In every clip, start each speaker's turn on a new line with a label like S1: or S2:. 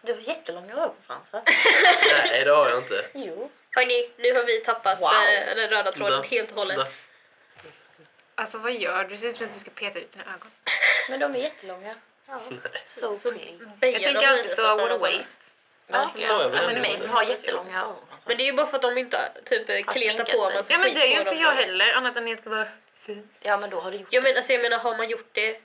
S1: Du har jättelånga ögonfransar.
S2: Nej, det har jag inte.
S1: Jo.
S3: Hörni, nu har vi tappat
S1: Wow.
S3: eh, den röda tråden
S2: Da.
S3: helt och hållet.
S2: Nej.
S4: Alltså vad gör du? Det ser ut som att du ska peta ut dina ögon.
S1: Men de är jättelånga.
S3: Ja.
S1: So funny.
S3: Böjer
S4: Jag
S3: dem
S4: tänker
S3: lite
S4: alltid så,
S3: att
S4: what a
S3: Mm. de-
S4: waste.
S1: Verkligen.
S2: Ja, jag
S1: Ja,
S2: vet
S1: men
S2: inte.
S1: mig som har jättelånga ögonfransar.
S3: Men det är ju bara för att de inte typ
S1: Har
S3: kletar
S1: sminkat
S3: på
S1: sig.
S3: massa
S4: Ja men
S3: skit
S4: det är ju
S3: på
S4: inte
S3: dem.
S4: jag heller, annat än att jag ska vara fin.
S1: Ja men då har du gjort
S3: Jag menar, alltså, jag menar, har man gjort det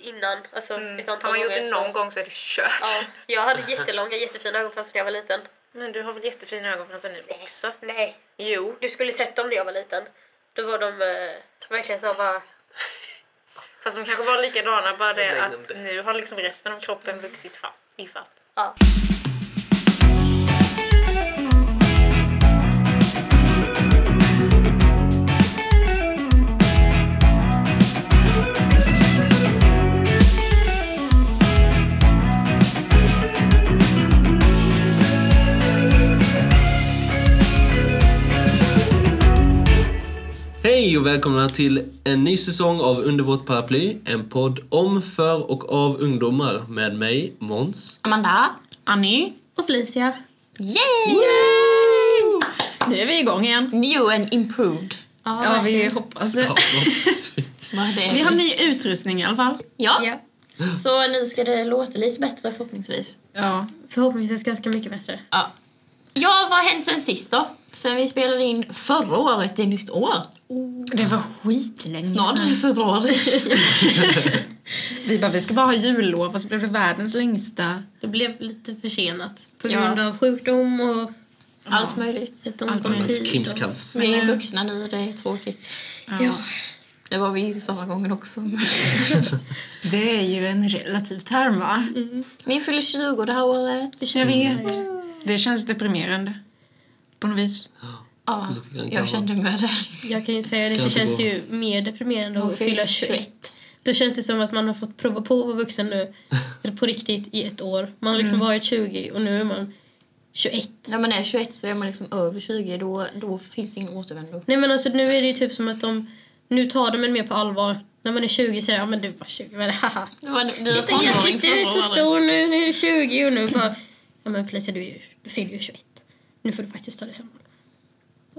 S3: innan? Alltså,
S4: Mm.
S3: ett
S4: Har
S3: antal
S4: man gjort
S3: gånger
S4: det
S3: så-
S4: någon gång så är det kört.
S3: Ja, jag hade jättelånga jättefina ögonfransar när jag var liten.
S4: Men du har väl jättefina ögonfransar nu också?
S3: Nej.
S4: Jo.
S3: Du skulle sett dem när jag var liten. Då var de eh, verkligen så här bara...
S4: Fast de kanske var likadana, bara
S2: Jag
S4: det
S2: lägger dem
S4: att
S2: där.
S4: nu har liksom resten av kroppen
S3: Mm.
S4: vuxit fatt, ifatt.
S3: Ja.
S2: Hej och välkomna till en ny säsong av Under vårt paraply. En podd om, för och av ungdomar med mig, Måns.
S5: Amanda.
S6: Annie.
S5: Och Felicia. Yay!
S6: Nu är vi igång igen.
S5: New and improved.
S6: Ja, vi hoppas.
S2: Ja, förhoppningsvis.
S5: Vad det är.
S6: Vi har ny utrustning i alla fall.
S5: Ja. Så nu ska det låta lite bättre förhoppningsvis.
S6: Ja.
S7: Förhoppningsvis ganska mycket bättre.
S5: Ja. Ja, vad har hänt sen sist då? Sen vi spelade in förra året, det är nytt år.
S6: Det var skitlänge
S5: Snart
S6: sedan.
S5: i februari.
S6: Vi bara, vi ska bara ha jullov och så blev det världens längsta.
S7: Det blev lite försenat på
S5: Ja.
S7: grund av sjukdom och
S5: Allt möjligt.
S7: lite ont
S6: Allt
S7: om
S6: möjligt.
S7: tid. Och...
S2: Krimskrams.
S5: Vi är ju vuxna nu, det är tråkigt.
S6: Ja.
S5: Det var vi ju förra gången också.
S6: Det är ju en relativ term va?
S5: Ni fyller 20 det här året.
S6: Jag vet.
S5: Mm.
S6: Det känns deprimerande. På något vis.
S5: Ja,
S2: Lite grann
S5: jag
S2: kanske.
S5: kände med det.
S7: Jag kan ju säga det,
S2: Kan
S7: det
S2: inte
S7: känns
S2: gå.
S7: ju mer deprimerande att fylla 21. Då känns det som att man har fått prova på att vara vuxen nu eller på riktigt i ett år. Man har liksom
S5: Mm.
S7: varit 20 och nu är man 21.
S5: När man är 21 så är man liksom över 20, då, då finns det ingen återvändo.
S7: Nej men alltså nu är det ju typ som att de, nu tar de en mer på allvar. När man är 20 säger de, ja men du var 20, men haha.
S5: Du var, du var
S7: Du är
S5: tonåring
S7: jättevis- du är
S5: förra
S7: så
S5: året.
S7: stor nu, nu är du 20 och nu bara... Ja men Felicia, du, är ju, du fyller ju 21. Nu får du faktiskt ta dig samman.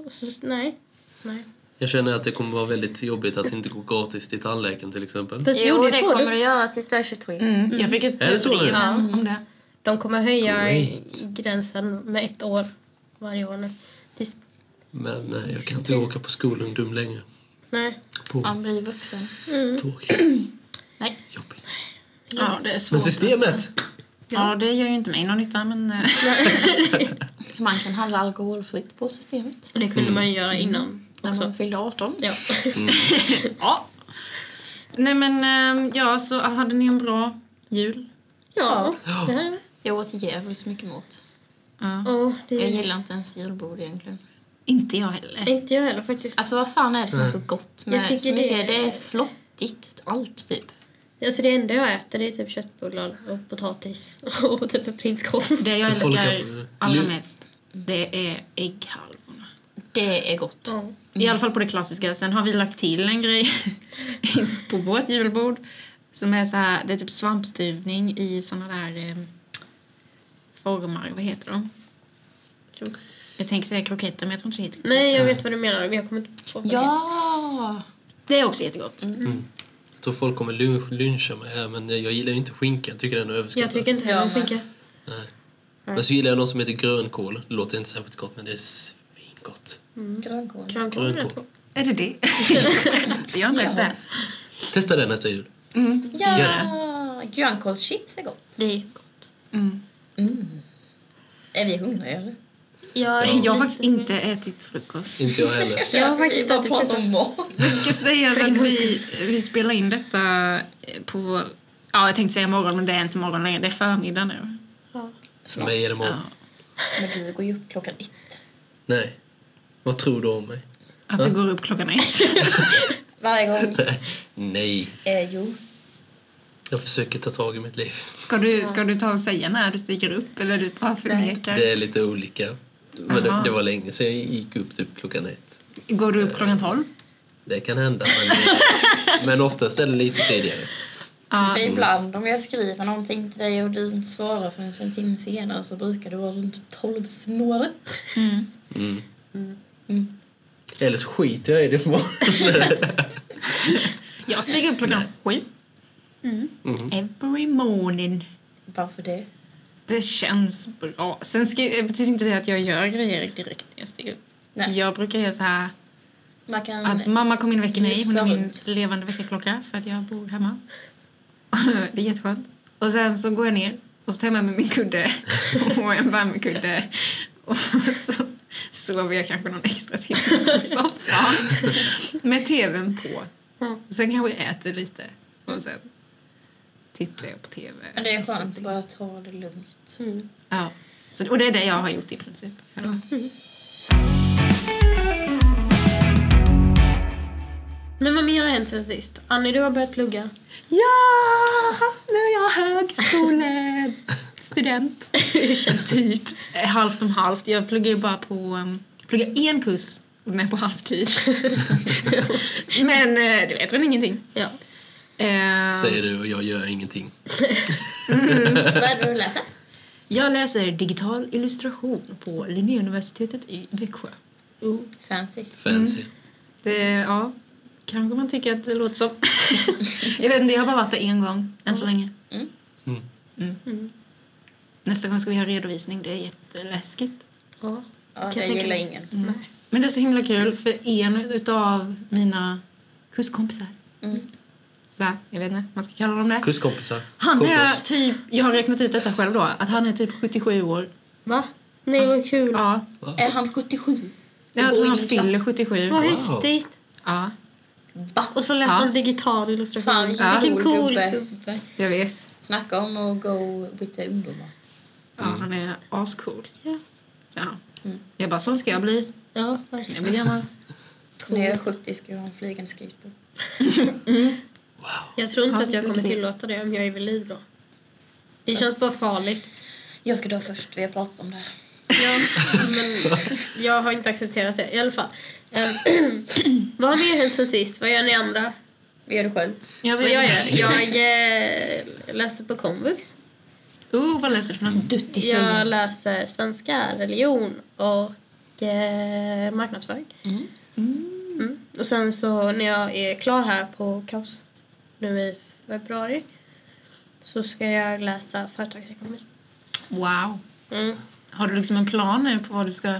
S7: Och så, nej. nej.
S2: Jag känner att det kommer vara väldigt jobbigt att inte gå gratis till tandläkaren till exempel.
S7: Fast
S5: Jo,
S7: jo,
S5: det
S7: det får
S5: kommer
S7: du.
S5: du göra tills du är 23.
S6: Mm. Jag fick ett
S2: Är det så nu?
S6: brev om det.
S7: De kommer höja
S2: Great.
S7: gränsen med ett år varje år nu. Tills,
S2: Men eh, jag kan inte åka på skolungdom längre.
S7: nej.
S2: På
S5: Man blir vuxen.
S2: tråkigt.
S5: Nej.
S2: Jobbigt.
S6: Ja, det är svårt.
S2: Men systemet!
S6: Ja, det gör ju inte mig någon nytta men... eh,
S5: Man kan handla alkoholfritt på systemet.
S7: Och det kunde man ju göra innan
S5: När
S7: också.
S5: man fyllde 18.
S7: Ja.
S6: Ja. Nej men ehm, ja, så hade ni en bra jul?
S7: ja. Det här.
S5: Jag åt djävulskt mycket mat.
S6: Ja.
S7: Oh,
S5: Jag
S7: det
S5: gillar inte ens julbord egentligen.
S6: Inte jag heller.
S7: inte jag heller faktiskt.
S5: Alltså vad fan är det som
S2: Mm.
S5: är så gott med
S7: Jag tycker
S5: så mycket?
S7: det
S5: Det...
S7: är-
S5: är flottigt allt typ.
S7: Alltså det enda jag äter det är typ köttbullar och potatis och typ en prinskorv.
S6: Det jag
S2: Folk
S6: älskar
S2: har-
S6: allra
S2: Lu-
S6: mest, det är ägghalvorna.
S5: Det är gott.
S7: Ja.
S6: I alla fall på det klassiska. Sen har vi lagt till en grej på vårt julbord. Som är så här, det är typ svampstuvning i såna där eh, formar. Vad heter de? Jag tänker säga kroketter men jag tror inte det heter kroketter.
S7: Nej, jag vet vad du menar men jag kommer inte på vad det heter.
S5: Ja!
S6: Det är också jättegott.
S2: Jag tror folk kommer lunch, luncha med här men jag gillar ju inte skinka. Jag tycker den är överskattad.
S7: Jag tycker inte heller om skinka.
S2: Men så gillar jag något som heter grönkål. Det låter inte särskilt gott men det är svingott.
S5: Grönkål.
S7: Grönkål är rätt
S2: Grönkål.
S7: gott.
S6: Är det det? så jag har inte ätit det.
S2: Testa det nästa jul.
S6: Mm.
S2: Gör
S5: Ja! Grönkålschips är gott.
S7: Det är gott.
S5: Är vi hungriga eller?
S7: Jag,
S6: Jag har faktiskt inte ätit frukost.
S2: Inte jag heller.
S7: Jag har faktiskt
S5: vi bara
S7: ätit
S5: pratar om
S7: frukost.
S5: mat.
S6: Det ska sägas att vi, vi spelar in detta på... Ja, jag tänkte säga morgon, men det är inte morgon längre. Det är förmiddag nu.
S2: För mig är det morgon.
S6: Ja.
S5: Men du går ju upp klockan ett.
S2: Nej. Vad tror du om mig?
S6: Att du går upp klockan ett.
S5: Varje gång.
S2: Nej.
S5: Eh, jo.
S2: Jag försöker ta tag i mitt liv.
S6: Ska du, ska du ta och säga när du stiger upp eller du bara förnekar?
S2: Det är lite olika. Men det,
S6: Aha.
S2: det var länge sedan jag gick upp typ klockan ett.
S6: Går du upp klockan tolv?
S2: Det kan hända men, men oftast är det lite tidigare.
S6: Ja.
S1: För ibland om jag skriver någonting till dig och du inte svarar förrän en timme senare så brukar det vara runt tolvsnåret.
S6: Mm.
S2: Mm.
S1: Mm.
S2: Eller så skiter jag i det imorgon.
S6: Jag stiger upp klockan sju.
S2: Mm.
S6: Every morning.
S1: Varför det?
S6: Det känns bra. Sen ska, det betyder inte det att jag gör grejer direkt när jag stiger upp.
S1: Nej.
S6: Jag brukar göra så här
S1: Man kan...
S6: att mamma kom in och väcker mig. Hon är
S1: Lyfsa
S6: min
S1: runt.
S6: levande väckarklocka för att jag bor hemma. Det är jätteskönt. Och sen så går jag ner och så tar jag med mig min kudde och en värmekudde. Och så sover jag kanske någon extra timme på soffan med tvn på. Sen kanske jag äter lite och sen tittar jag på tv.
S1: Men det är
S6: en stund
S1: skönt att
S6: till. Mm.
S1: bara ta det lugnt. Mm.
S6: Ja. Så, och det är det jag har gjort i princip.
S7: Men vad mer har hänt sen sist? Annie, du har börjat plugga.
S6: Ja! Nu är jag högskolestudent. Hur känns det? Typ eh, halvt om halvt. Jag pluggar ju bara på... Um, pluggar en kurs men på halvtid. men eh, det vet väl ingenting.
S7: Ja.
S6: Eh,
S2: Säger du och jag gör ingenting.
S1: Vad är det du läser?
S6: jag läser digital illustration på Linnéuniversitetet i Växjö.
S1: Oh, fancy.
S2: Fancy.
S6: Mm. Det, ja, kanske man tycker att det låter som. jag vet inte, jag har bara varit där en gång än så länge.
S1: Mm.
S2: Mm.
S6: Mm. Nästa gång ska vi ha redovisning, det är jätteläskigt. Mm.
S7: ja.
S1: Ja,
S7: jag
S1: det
S7: tänka
S1: gillar
S7: mig.
S1: ingen.
S6: Men det är så himla kul för en utav mina kurskompisar,
S1: Mm.
S6: så här, jag vet inte vad man ska kalla dem det.
S2: Kurskompisar.
S6: Han är
S2: Kompis.
S6: typ, jag har räknat ut detta själv då, att han är typ 77 år.
S1: Va?
S7: Nej, vad kul.
S6: Ja,
S1: Är han 77?
S6: jag tror
S1: bor i
S6: han
S1: din
S6: fyller
S1: klass.
S6: 77.
S7: Vad
S2: Wow.
S7: häftigt.
S6: Ja,
S1: Va?
S7: Och så läser
S6: Ja.
S7: hon digital illustration.
S1: Fan vilken
S6: Ja.
S1: cool,
S7: Vilken cool
S1: gubbe.
S7: gubbe.
S6: jag vet.
S1: Snacka om att go with the ungdomar.
S6: Ja, Han är ascool.
S7: Ja.
S6: Ja.
S1: Mm.
S6: Jag bara, sån ska jag bli.
S7: Ja, verkligen.
S6: Jag blir gammal.
S1: När jag är 70 ska jag ha en flygande skateboard.
S7: Jag tror inte
S6: Ja,
S7: att jag
S6: det
S7: kommer
S6: är det.
S7: tillåta det om jag är vid liv då. Det känns bara farligt.
S1: Jag ska dö först, vi har pratat om det här.
S7: Ja, men jag har inte accepterat det i alla fall. Eh, Vad har mer hänt sen sist? Vad gör ni andra?
S1: Vi gör det själv.
S6: Jag
S7: Vad gör jag? Jag eh, läser på komvux.
S6: Oh, vad läser du för något?
S1: Duttig
S7: Jag läser svenska, religion och eh, marknadsföring. Mm. Och sen så när jag är klar här på Kaos nu i februari så ska jag läsa företagsekonomi.
S6: Wow.
S7: Mm.
S6: Har du liksom en plan nu på vad du ska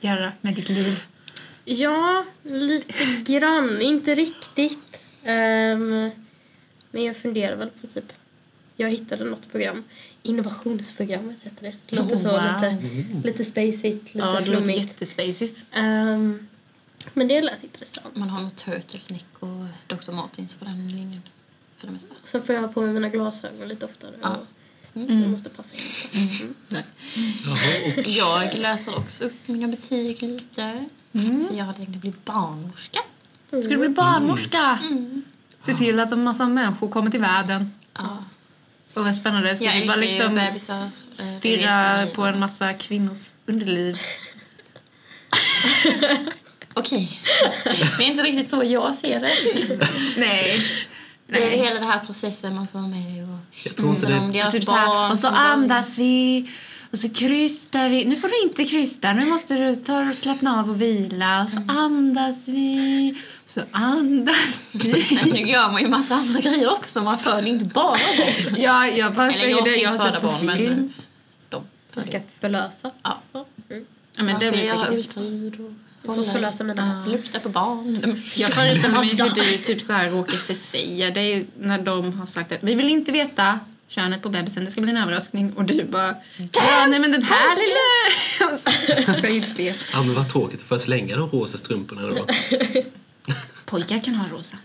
S6: göra med ditt liv?
S7: Ja, lite grann. Inte riktigt. Ehm, men jag funderar väl på typ... Jag hittade något program. Innovationsprogrammet heter det. Det låter så
S6: Oh, wow.
S7: lite, lite spacigt, lite
S6: Ja, det låter
S7: flummigt.
S6: jättespacigt.
S7: Ehm, men det lät intressant.
S5: Mm.
S1: Man har nog Turtletnick och Dr. Martins på den linjen. För det mesta.
S7: Sen får jag ha på mig mina glasögon lite oftare.
S1: Ja.
S7: och
S5: Mm.
S7: Jag måste passa in.
S2: Jaha, och
S1: Jag läser också upp mina betyg lite. För jag hade tänkt att bli barnmorska.
S6: Ska du bli barnmorska? Se till att en massa människor kommer till världen.
S1: Ja.
S6: Och vad spännande. Ska
S1: Jag
S6: du
S1: älskar
S6: bara
S1: ju
S6: liksom
S1: bebisar. eh, det
S6: stirra
S1: vet ni.
S6: på en massa kvinnors underliv?
S1: Okej. Det är inte riktigt så jag ser det.
S6: Nej.
S1: Det är hela den här processen man får vara med och...
S2: jag tror inte
S1: Sen om
S2: det.
S1: deras
S6: Typ så
S1: barn,
S6: här, och så
S1: om de-
S6: andas vi och så krystar vi. Nu får du inte krysta, nu måste du ta och slappna av och vila. Och så
S1: Mm.
S6: andas vi, så andas vi.
S1: Men nu gör man ju massa andra grejer också. Man föder ju inte bara barn.
S6: Ja, jag bara
S1: Eller
S6: säger
S1: jag
S6: det.
S1: ska
S6: Jag
S1: inte
S6: har
S1: föda
S6: sett på
S1: barn,
S6: film.
S1: men de
S7: Jag ska
S1: föder.
S7: förlösa.
S1: Ja.
S6: ja, men
S1: Man
S6: det
S1: får
S6: blir
S1: göra
S6: säkert.
S1: ultraljud och
S7: Jag får
S1: hålla
S7: förlösa mina barn.
S1: Lukta på barn.
S6: Jag föreställer mig hur du typ så här råkar försäga dig när de har sagt att vi vill inte veta könet på bebisen, det ska bli en överraskning. Och du bara, ja nej men den här lilla... Och så säger du fel.
S2: Ja men vad tråkigt, får jag slänga de rosa strumporna då?
S6: Pojkar kan ha rosa.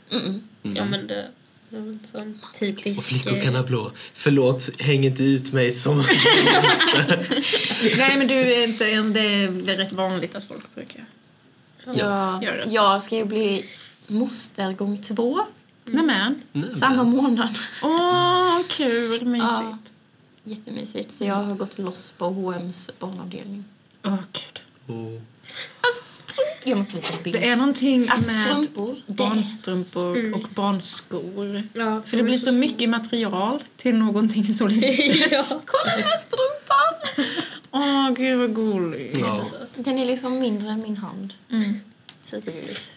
S7: Ja, men det, det är väl en sån
S2: Och
S7: typisk...
S2: flickor
S7: eh,
S2: kan ha blå. Förlåt, häng inte ut mig som...
S6: Nej men du är inte ens, det är väl rätt vanligt att folk brukar.
S1: Ja.
S6: Gör det så.
S1: Jag ska ju bli moster gång två.
S6: Mm. Nämen.
S2: Nej,
S1: Samma
S2: men-
S1: månad.
S6: Åh, kul, mysigt.
S1: Jättemysigt. Så jag har gått loss på H&M's barnavdelning.
S6: Åh gud.
S2: Åh.
S1: Alltså, så tråkigt.
S5: Jag måste visa en bild.
S6: Det är någonting
S5: Alltså
S6: med
S5: strumpor. det är-
S6: barnstrumpor och barnskor.
S7: Ja,
S6: För det blir så mycket material till någonting så litet.
S7: ja.
S5: Kolla den här strumpan!
S6: Åh, gud vad gulligt.
S2: Ja.
S5: Den är liksom mindre än min hand.
S6: Mm.
S5: Supergulligt.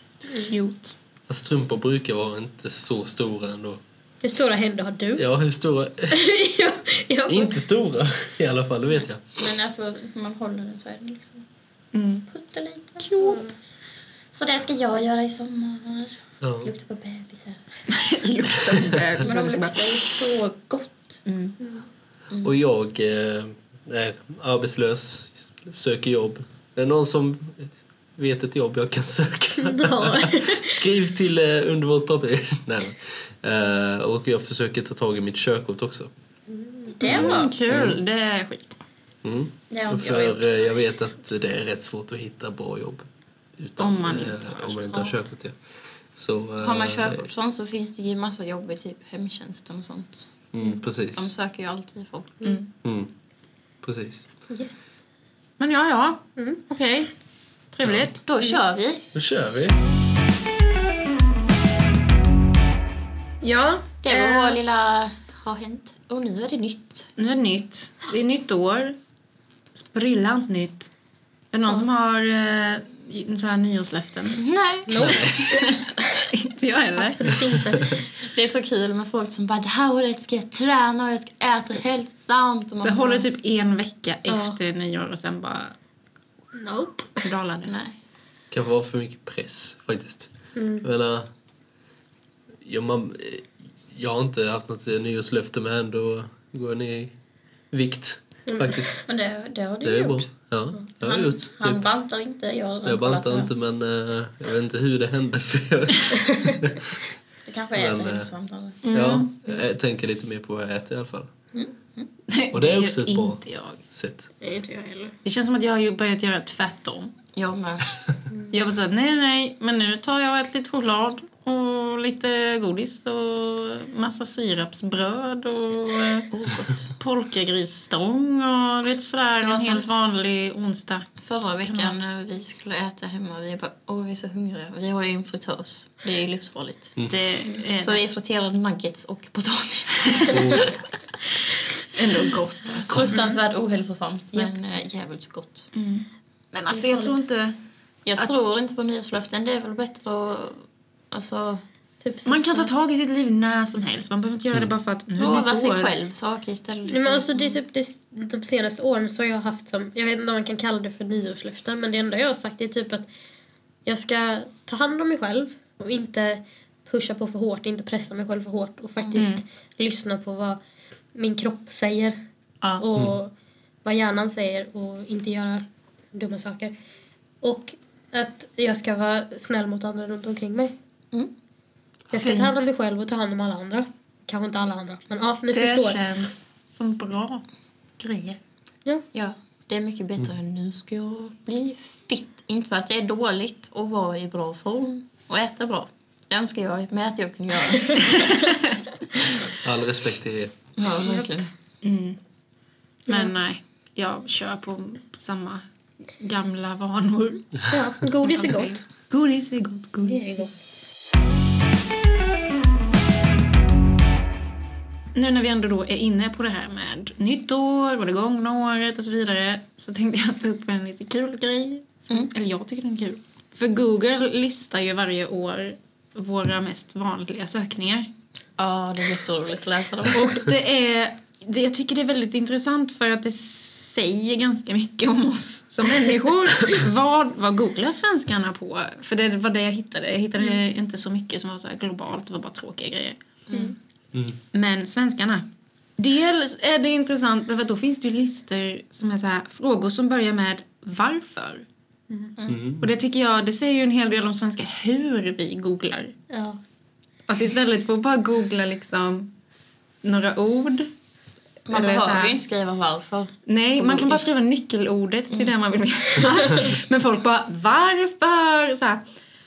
S6: Cute.
S2: Fast Strumpor brukar vara inte så stora ändå.
S7: Hur stora händer har du?
S2: Ja, hur stora?
S7: ja, ja.
S2: inte stora i alla fall, det vet jag.
S5: Men alltså, man håller den så är den liksom
S6: Mm.
S5: pytteliten. Cute. Så det ska jag göra i sommar.
S2: Ja.
S5: Lukta på bebisar.
S6: Luktar
S5: Men de
S6: bebisar.
S5: luktar ju så gott.
S6: Mm.
S2: Och jag eh, är arbetslös, söker jobb. Är det någon som vet ett jobb jag kan söka? Skriv till eh, underbart papper. Nej. Eh, och jag försöker ta tag i mitt körkort också.
S5: Det var
S6: Mm, kul, det är skitbra.
S2: Mm.
S5: det har inte jag gjort.
S2: För eh, jag vet att det är rätt svårt att hitta bra jobb. Utan,
S6: Om man
S2: eh,
S6: inte har
S2: om man inte har körkort. Ja. Så, eh,
S1: Har man körkort och sånt så finns det ju massa jobb i typ hemtjänsten och sånt.
S2: Mm,
S1: De
S2: precis.
S1: söker ju alltid folk.
S2: Mm. Precis.
S7: Yes.
S6: Men ja, ja. Okej. Trevligt.
S1: Då kör vi!
S2: Då kör vi.
S6: Ja,
S1: Det var vår lilla har hänt. Och nu är det nytt.
S6: nu är det nytt. Det är nytt år. Sprillans nytt. Är det någon som har eh, så här nyårslöften?
S1: Nej.
S6: inte jag heller.
S7: Absolut inte.
S1: Det är så kul med folk som bara det här året ska jag träna och jag ska äta hälsosamt. Och man
S6: Det
S1: bara,
S6: håller typ en vecka efter nyår och sen bara
S7: Nope.
S6: dalar det.
S1: Nej.
S2: kan vara för mycket press faktiskt. Jag menar, jag, man, eh, jag har inte haft något eh, nyårslöfte men ändå går jag ner i vikt faktiskt.
S5: Men det, det har du
S2: Det är
S5: gjort.
S2: bra. Ja, jag har
S5: han,
S2: gjort typ.
S5: han bantar inte. Jag, har redan
S2: Jag
S5: kollat det.
S2: bantar inte men eh, jag vet inte hur det hände för jag,
S5: Det kanske är
S2: Men,
S5: ett
S2: eh,
S5: hälsosamt. eller?
S2: ja, jag tänker lite mer på vad jag äter i alla fall. Och det är också
S6: gör
S2: ett bra-
S6: inte jag.
S2: Sett.
S7: Nej, inte jag heller.
S6: Det känns som att jag har ju börjat göra tvärtom.
S1: Jag med.
S6: Jag bara såhär, nej nej, men nu tar jag och äter lite choklad och lite godis och massa sirapsbröd och eh, polkagrisstång och lite sådär
S1: Det var
S6: en
S1: som-
S6: helt vanlig onsdag.
S1: Förra veckan när vi skulle äta hemma vi bara åh vi är så hungriga. Vi har ju en fritös. Det är ju livsfarligt.
S2: Mm.
S6: Det är
S1: Så vi friterade nuggets och potatis.
S6: ändå gott alltså.
S1: Fruktansvärt ohälsosamt men eh, jävligt gott.
S6: Men alltså jag tror inte...
S1: Jag tror inte på nyårslöften. Det är väl bättre att alltså,
S7: Typ så.
S6: Man kan ta tag i sitt liv när som helst. Man behöver inte göra det bara för att nu är det
S1: lova
S6: nytt
S1: sig
S6: år.
S1: själv saker istället.
S6: liksom.
S7: Nej, men alltså, det är typ det, de senaste åren så har jag haft som, jag vet inte om man kan kalla det för nyårslöften, men det enda jag har sagt är typ att jag ska ta hand om mig själv och inte pusha på för hårt, inte pressa mig själv för hårt och faktiskt
S6: Mm.
S7: lyssna på vad min kropp säger
S6: Ja.
S7: och vad hjärnan säger och inte göra dumma saker. Och att jag ska vara snäll mot andra runt omkring mig.
S1: Mm.
S7: Jag ska ta hand om mig själv och ta hand om alla andra. Kanske inte alla andra, men ja, ni förstår.
S6: känns som bra grejer.
S1: Ja, det är mycket bättre än nu ska jag bli fit. Inte för att det är dåligt att vara i bra form och äta bra. Det önskar jag med att jag kunde göra.
S2: All respekt till er.
S1: Ja, verkligen.
S6: Men nej, jag kör på samma gamla vanor.
S7: Ja, godis är gott.
S6: Godis är gott, godis.
S7: Det är gott.
S6: Nu när vi ändå då är inne på det här med nytt år och det gångna året och så vidare så tänkte jag ta upp en lite kul grej. Som,
S1: Mm.
S6: Eller jag tycker den är kul. För Google listar ju varje år våra mest vanliga sökningar.
S1: Ja, det är jätteroligt att läsa dem.
S6: Och det är, det, jag tycker det är väldigt intressant för att det säger ganska mycket om oss som människor. vad, vad googlar svenskarna på? För det var det jag hittade. Jag hittade
S1: Mm.
S6: inte så mycket som var så här globalt, det var bara tråkiga grejer. Men svenskarna. Dels är det intressant därför att då finns det ju listor som är så här, frågor som börjar med varför. Och det tycker jag, det säger ju en hel del om svenskar hur vi googlar.
S7: Ja.
S6: Att istället för att bara googla liksom några ord.
S1: Man
S6: eller så
S1: behöver
S6: här-
S1: ju inte skriva varför. Mm.
S6: Nej, man kan bara skriva nyckelordet till det man vill veta. Men folk bara varför? Så här.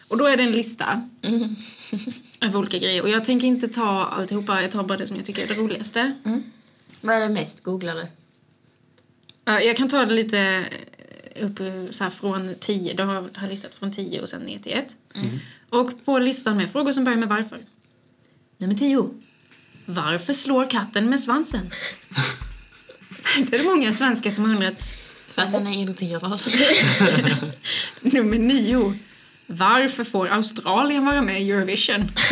S6: Och då är det en lista
S1: Mm.
S6: av olika grejer. Och jag tänker inte ta alltihopa, jag tar bara det som jag tycker är det roligaste.
S1: Vad är det mest googlade?
S6: Ja, jag kan ta det lite upp eh, så här från 10, då har har jag listat från 10 och sen ner till 1.
S1: Mm.
S6: Och på listan med frågor som börjar med varför. Nummer 10. Varför slår katten med svansen? det är det många svenskar som har undrat.
S1: För att den är irriterad.
S6: Nummer 9. Varför får Australien vara med i Eurovision?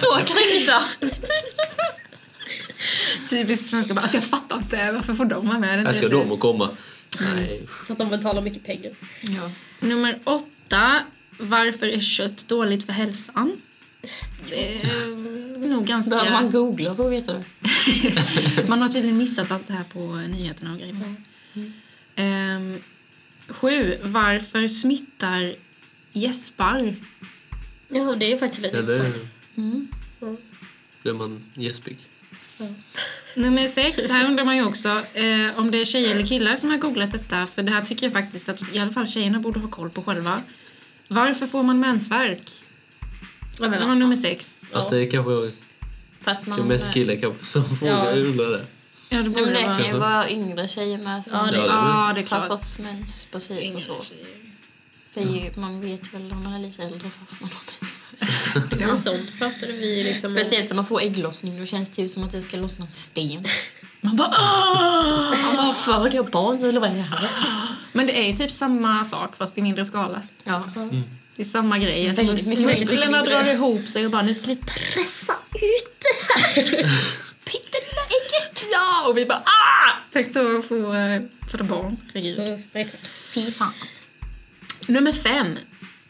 S1: Så kan det inte
S6: Typiskt svenska bara, alltså jag fattar inte varför får de vara med? i den
S2: Här ska
S6: typen av-
S2: de och komma. Nej.
S7: För att de betalar mycket pengar.
S1: ja.
S6: Nummer åtta. Varför är kött dåligt för hälsan? Det är eh, nog ganska...
S1: Behöver man googla för att veta det?
S6: Man har tydligen missat allt det här på nyheterna och grejer. Ehm, sju. Varför smittar gäspar?
S7: Ja, det är faktiskt lite
S2: Eller
S7: intressant.
S2: blir man gäspig?
S6: Nummer sex. Här undrar man ju också eh, om det är tjejer eller killar som har googlat detta. För det här tycker jag faktiskt att i alla fall tjejerna borde ha koll på själva. Varför får man mensvärk?
S7: Ja,
S6: Det
S7: men,
S6: var nummer sex.
S2: Fast det är kanske
S1: För att
S2: det är
S1: man...
S2: mest killar kanske som frågar ja. undrar det.
S6: Ja, det
S1: Nej, men
S6: borde
S1: det
S6: vara.
S1: kan ju vara yngre tjejer med som
S7: Ja, det-
S6: Ja, det
S1: har
S6: är klart.
S1: fått mens precis och så. För man vet väl när man är lite äldre varför man har mens.
S7: men alltså, sånt pratade vi liksom om.
S1: Speciellt när man får ägglossning, då känns det ju som att det ska lossna en sten.
S6: Man bara "Åh!"
S1: Man bara, föder jag barn eller vad är det här?
S6: Men det är ju typ samma sak fast i mindre skala.
S1: Ja.
S6: Det är samma grej. Att
S1: Väldigt
S6: mus-
S1: mycket, väldigt
S6: musklerna
S1: mindre.
S6: drar ihop sig och bara nu ska vi pressa ut det här pyttelilla ägget. Ja! Och vi bara ah! Tänk så få eh, föda barn. Herregud.
S7: Mm, exakt.
S6: Fy fan. Nummer fem.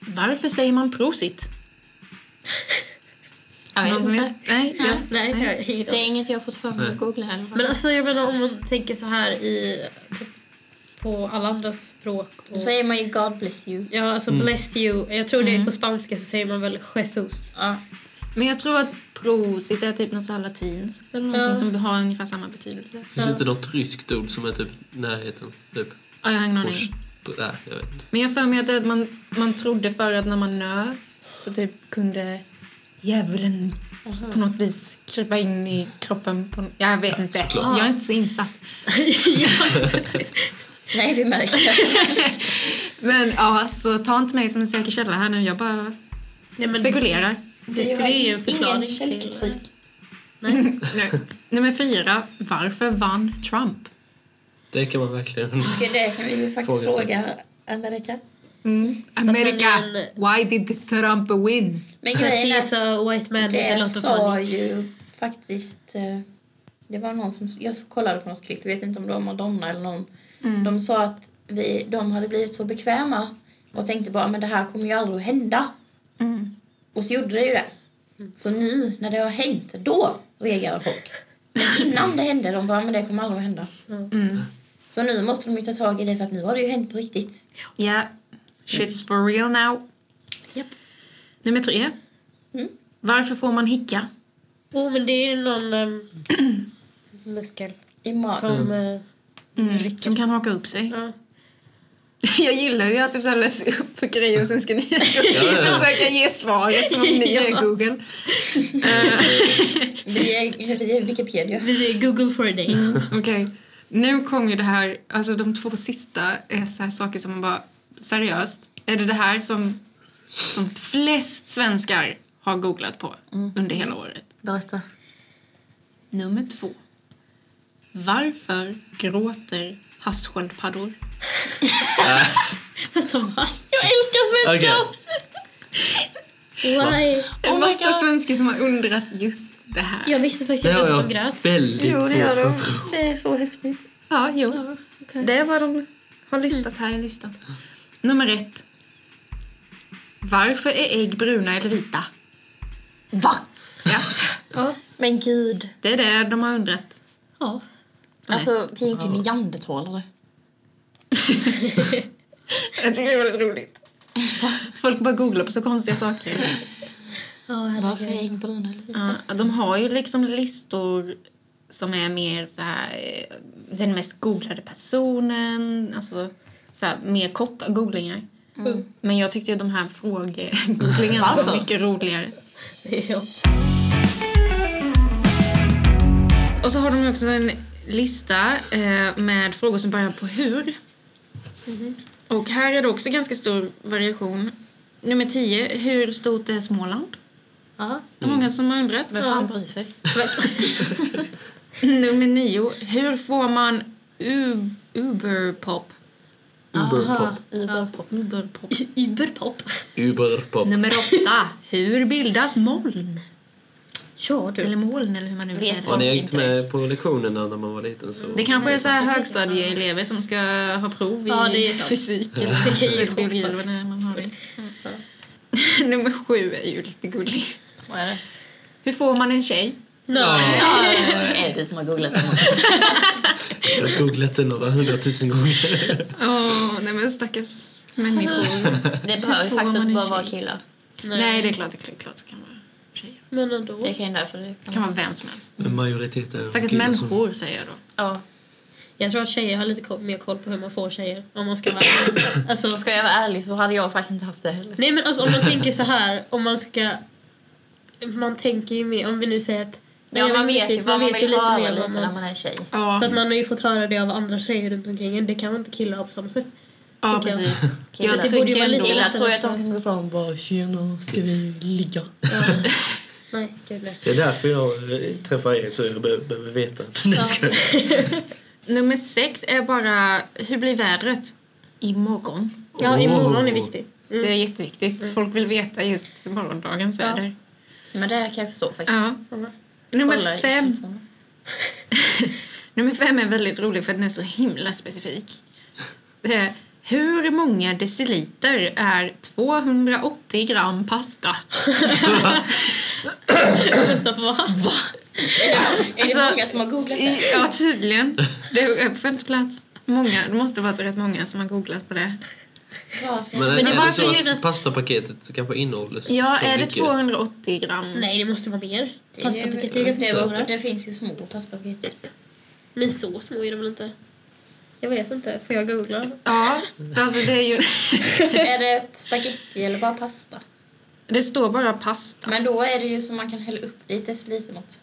S6: Varför säger man prosit?
S1: Jag vet
S6: Någon som
S1: inte.
S6: vet? Nej, ja.
S7: Nej, jag har ingen
S1: Det
S7: aning.
S1: är inget jag har fått för mig att googla heller.
S7: Men alltså jag menar om man tänker så här i typ, på alla andra språk. Och,
S1: Då säger man ju God bless you.
S7: ja, alltså
S2: Mm.
S7: bless you. Jag tror det är på spanska så säger man väl Jesus.
S6: Ja. Men jag tror att prosit är typ något så här latinskt eller någonting
S7: Ja.
S6: som har ungefär samma betydelse.
S2: Finns inte något ryskt ord som är typ närheten? Typ.
S6: Ja, jag har ingen aning.
S2: Pors- Nej, jag vet inte.
S6: Men jag har för mig att det- att man, man trodde förr att när man nös så typ kunde djävulen på något vis krypa in i kroppen. På, jag vet inte.
S2: såklart.
S6: Jag är inte så insatt.
S1: Nej, vi märker det.
S6: Men ja, så ta inte mig som en säker källa här nu. Jag bara
S7: Ja, men
S6: spekulerar.
S7: det skulle ju ge en förklaring till...
S6: Nej. Nummer fyra. Varför vann Trump?
S2: Det kan man verkligen
S5: Det kan vi ju faktiskt
S2: Fråga sig.
S5: fråga Amerika.
S6: America,
S7: han
S6: why did Trump win?
S5: Men grejen är
S7: Precis,
S5: att
S7: så white man with a
S5: det
S7: lot of money.
S5: sa ju faktiskt... eh, Det var någon som... Jag kollade på något klipp, jag vet inte om det var Madonna eller någon. De sa att vi, de hade blivit så bekväma och tänkte bara men det här kommer ju aldrig att hända. Och så gjorde det ju det. Så nu när det har hänt, då reagerar folk. Men innan det hände, de bara men det kommer aldrig att hända. Mm. Så nu måste de ju ta tag i det för att nu har det ju hänt på riktigt.
S6: Yeah, shit's for real now.
S5: Japp.
S6: Nummer tre.
S5: Mm.
S6: Varför får man hicka?
S7: Jo, Oh, men det är ju någon ehm, muskel
S5: I magen.
S7: som...
S2: Mm.
S7: eh,
S6: Mm. Som kan haka upp sig.
S7: Ja.
S6: Jag gillar ju att du så här läser upp grejer och sen ska ni
S2: ja.
S6: försöka ge svaret som om ni är Google. Eh,
S5: Vi är, vi är Wikipedia.
S7: Vi är Google for a day.
S6: Okej, nu kom ju det här, alltså de två sista är så här saker som man bara, seriöst, är det det här som, som flest svenskar har googlat på
S2: Mm.
S6: under hela året?
S1: Berätta.
S6: Nummer två. Varför gråter havssköldpaddor?
S2: Okej,
S7: Why?
S2: Oh
S6: En massa svenskar som har undrat just det här.
S7: Jag visste faktiskt
S2: det
S7: inte
S2: har
S7: ens att de
S2: jag
S7: grät.
S2: väldigt svårt för att tro.
S5: Det är så häftigt.
S6: Ja, jo. Det är vad de har listat här i listan. Nummer ett. Varför är ägg bruna eller vita? Va? Ja,
S1: Men gud.
S6: det är det de har undrat.
S7: Ja.
S6: som mest.
S1: Alltså, vi är ju inte neandertalare.
S6: jag tycker det är väldigt roligt. Folk bara googlar på så konstiga saker.
S7: Ja,
S1: Varför
S7: herregud.
S1: är ägg bruna eller vita?
S6: Ja, de har ju liksom listor som är mer så här, eh, den mest googlade personen, alltså så här, mer korta googlingar.
S3: Mm.
S6: Men jag tyckte ju de här frågegooglingarna var
S1: Varför?
S6: mycket roligare.
S7: Ja.
S6: Och så har de också en lista eh, med frågor som börjar på hur. Och här är det också ganska stor variation. Nummer 10, hur stort är Småland?
S7: Ja.
S6: Det är många som har undrat.
S1: Vem fan bryr sig?
S6: Nummer 9, hur får man u- Uberpop?
S2: Uberpop.
S1: Uberpop.
S6: Uberpop.
S7: Uberpop.
S2: Uberpop.
S6: Nummer 8, hur bildas moln?
S7: Ja du.
S6: Eller moln eller hur man nu
S1: Vet
S6: säger det.
S2: Har ni
S1: Inte
S2: hängt med på lektionerna när man var liten så...
S6: Det kanske är så här högstadieelever som ska ha prov i
S7: Ja, det är sant.
S6: fysik eller biologi eller vad det är man har det. Nummer Typ sju är ju lite gullig.
S1: Vad är det?
S6: Hur får man en tjej?
S2: Ja,
S1: Vad är det som har googlat det?
S2: jag har googlat det några hundratusen gånger.
S6: Åh, nej men stackars människor.
S1: Det behöver ju faktiskt
S6: får man
S1: inte
S6: en
S1: bara vara
S6: tjej?
S1: killar.
S6: nej. nej, det är klart, det är klart det kan vara tjejer.
S7: Men ändå.
S1: Det kan ju därför det
S6: Det kan vara vem som helst.
S2: Men majoriteten är
S6: Stackars
S2: killar som-
S6: människor säger jag då.
S1: Ja.
S7: Jag tror att tjejer har lite ko- mer koll på hur man får tjejer. Om man ska vara ärlig. alltså,
S1: Ska jag vara ärlig så hade jag faktiskt inte haft det heller.
S7: Nej men alltså om man tänker så här, om man ska... Man tänker ju mer, om vi nu säger att...
S1: Ja,
S7: jag
S1: man vet ju
S7: riktigt,
S1: vad man
S7: vet
S1: vill höra
S7: vad
S1: lite när
S7: man,
S1: man är tjej.
S7: För
S6: Ja,
S7: att man har ju fått höra det av andra tjejer runt omkring en. Det kan man inte killar ha på samma sätt.
S6: ja
S7: tycker jag.
S6: precis.
S1: Killar.
S6: Jag
S1: Det
S7: borde
S6: tänker
S7: ju vara lika
S6: ändå...
S1: Killar tror jag att de kan gå fram och bara “tjena, ska vi ligga?”
S7: Nej, gud nej.
S2: Det är därför jag eh, träffar er så jag be- behöver veta. Nej, ska jag.
S6: Nummer sex är bara, hur blir vädret imorgon?
S7: Ja,
S2: Åh.
S7: imorgon är viktigt.
S6: Det är jätteviktigt. Folk vill veta just morgondagens väder.
S1: Men det kan jag förstå faktiskt.
S6: Ja. Nummer
S1: Kolla i
S6: fem.
S1: telefonen.
S6: Nummer fem är väldigt rolig för den är så himla specifik. Det är, Hur många deciliter är 280 gram pasta?
S7: Vänta, vad?
S5: Är det
S6: Alltså,
S5: många som har googlat det?
S6: I- Ja, tydligen. Det är på femte plats. Många, det måste ha varit rätt många som har googlat på det.
S2: Men, är
S7: det
S2: det,
S7: var
S2: så att
S7: förljudet.
S2: pastapaketet kanske innehåller
S6: Ja,
S2: så
S6: är det
S2: mycket?
S6: 280 gram?
S7: Nej, det måste vara mer.
S5: Det är-
S7: Pastapaket är ganska
S5: det var-
S7: stora.
S5: Det finns ju små pastapaket.
S7: Men så små är de väl inte? Jag vet inte. Får jag googla?
S6: Ja, för alltså det är ju...
S5: är det spaghetti eller bara pasta?
S6: Det står bara pasta.
S5: Men då är det ju så man kan hälla upp lite decilitermått.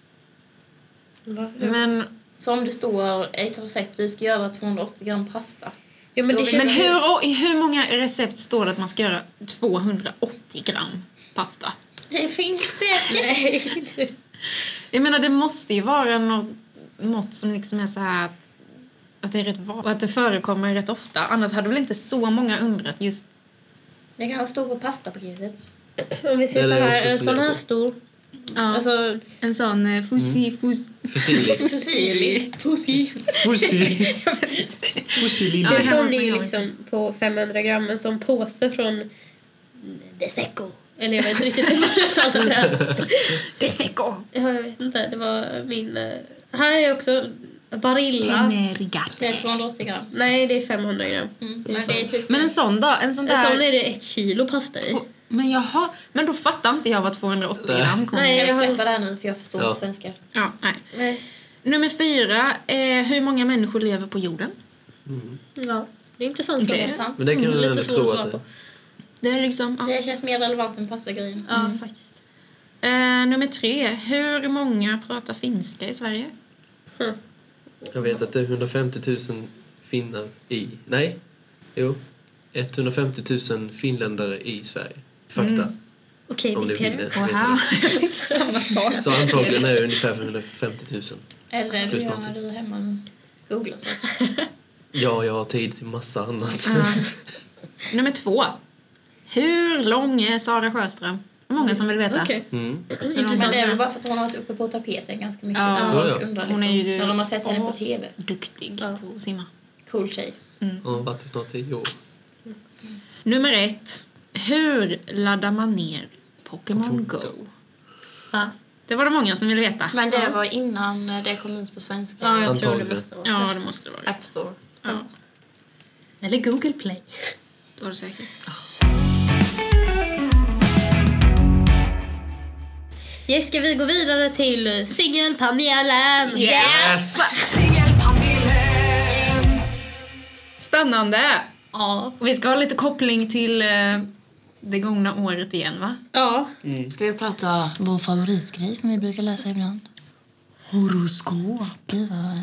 S6: Men,
S5: Så om det står i ett recept du ska göra 280 gram pasta.
S7: Ja, men det
S6: men
S7: känns...
S6: hur, i hur många recept står det att man ska göra 280 gram pasta?
S5: Det finns säkert!
S6: Jag menar det måste ju vara något mått som liksom är så här att, att det är rätt vanligt och att det förekommer rätt ofta. Annars hade väl inte så många undrat just
S5: Det kanske står på pastapaketet.
S7: Om vi ser
S2: Det
S7: så
S2: är det jag
S7: här,
S2: också
S7: en sån
S2: funderar
S7: här
S2: på.
S7: stor.
S6: alltså,
S7: Alltså,
S6: en sån eh, fusi fus,
S2: Fusilli.
S6: fusili.
S2: Fusilli. Fusilli.
S6: Ja,
S7: en
S6: hemma
S7: sån
S6: hos
S7: är ju
S6: mig.
S7: liksom på 500 gram. En sån påse från The Seco. Eller jag vet inte riktigt hur man uttalar det. här.
S6: Deseco.
S7: Ja, Jag vet inte, det var min... eh, Här är också Barilla.
S5: Det är 280 gram.
S7: Nej, det är 500 gram.
S5: Men det är typ...
S6: Men en sån då? En sån
S7: En
S6: där?
S7: sån är det ett kilo pasta i.
S6: Och- Men jaha, men då fattar inte jag vad 280
S2: Nej.
S6: gram kom
S7: Nej,
S5: Jag
S7: jag
S5: vill
S7: har...
S5: släppa det här nu för jag förstår
S2: Ja.
S5: svenska.
S6: Ja, nej.
S7: Nej.
S6: Nummer fyra, eh, hur många människor lever på jorden?
S7: Ja, det är intressant.
S6: Okej.
S7: fråga.
S5: Sant.
S2: Men det kan
S7: Mm,
S2: du
S7: lite
S2: ändå
S7: svår
S2: tro
S7: att
S2: att det är.
S7: svara
S6: Det är liksom... Ja.
S5: Det känns mer relevant än pastagrejen.
S7: Ja, faktiskt.
S6: Eh, nummer tre, hur många pratar finska i Sverige?
S2: Jag vet att det är 150 000 finnar i... Nej. Jo. 150 000 finländare i Sverige. Fakta.
S7: Okej,
S2: Om
S7: det
S2: ni
S7: är
S2: vill
S7: Pelle.
S2: det.
S6: Och här.
S2: Så antagligen är det ungefär 550 000.
S5: Eller du
S2: Plus
S5: gör när
S2: någonting.
S5: du är hemma nu. Googla så.
S2: Ja, jag har tid till massa annat.
S6: Ja. Nummer två. Hur lång är Sara Sjöström? Det är många som vill veta.
S7: Okej.
S2: Mm.
S5: Men det är väl bara för att hon har varit uppe på tapeten ganska mycket.
S6: Ja.
S5: så
S2: Ja,
S5: folk
S2: ja.
S5: undrar liksom,
S6: Hon är ju
S5: när de har sett henne på
S6: as-
S5: tv.
S6: duktig
S7: Ja.
S6: på att simma.
S5: Cool tjej.
S2: Jag har varit i snart tio år.
S6: Nummer ett. Hur laddar man ner Pokémon Go?
S7: Va?
S6: Det var det många som ville veta.
S1: Men det var innan det kom ut på svenska.
S7: Ja, jag tror det
S2: Antagligen.
S7: måste vara.
S6: Ja, det måste det vara.
S1: App Store.
S6: Ja,
S7: Eller Google Play.
S6: det var det säkert.
S7: Yes, ska vi gå vidare till singelpanelen?
S2: Yes!
S6: Spännande!
S7: Ja.
S6: Och vi ska ha lite koppling till eh, det gångna året igen, va?
S7: Ja.
S1: Ska vi prata vår favoritgrej som vi brukar läsa ibland? Horoskop. Gud vad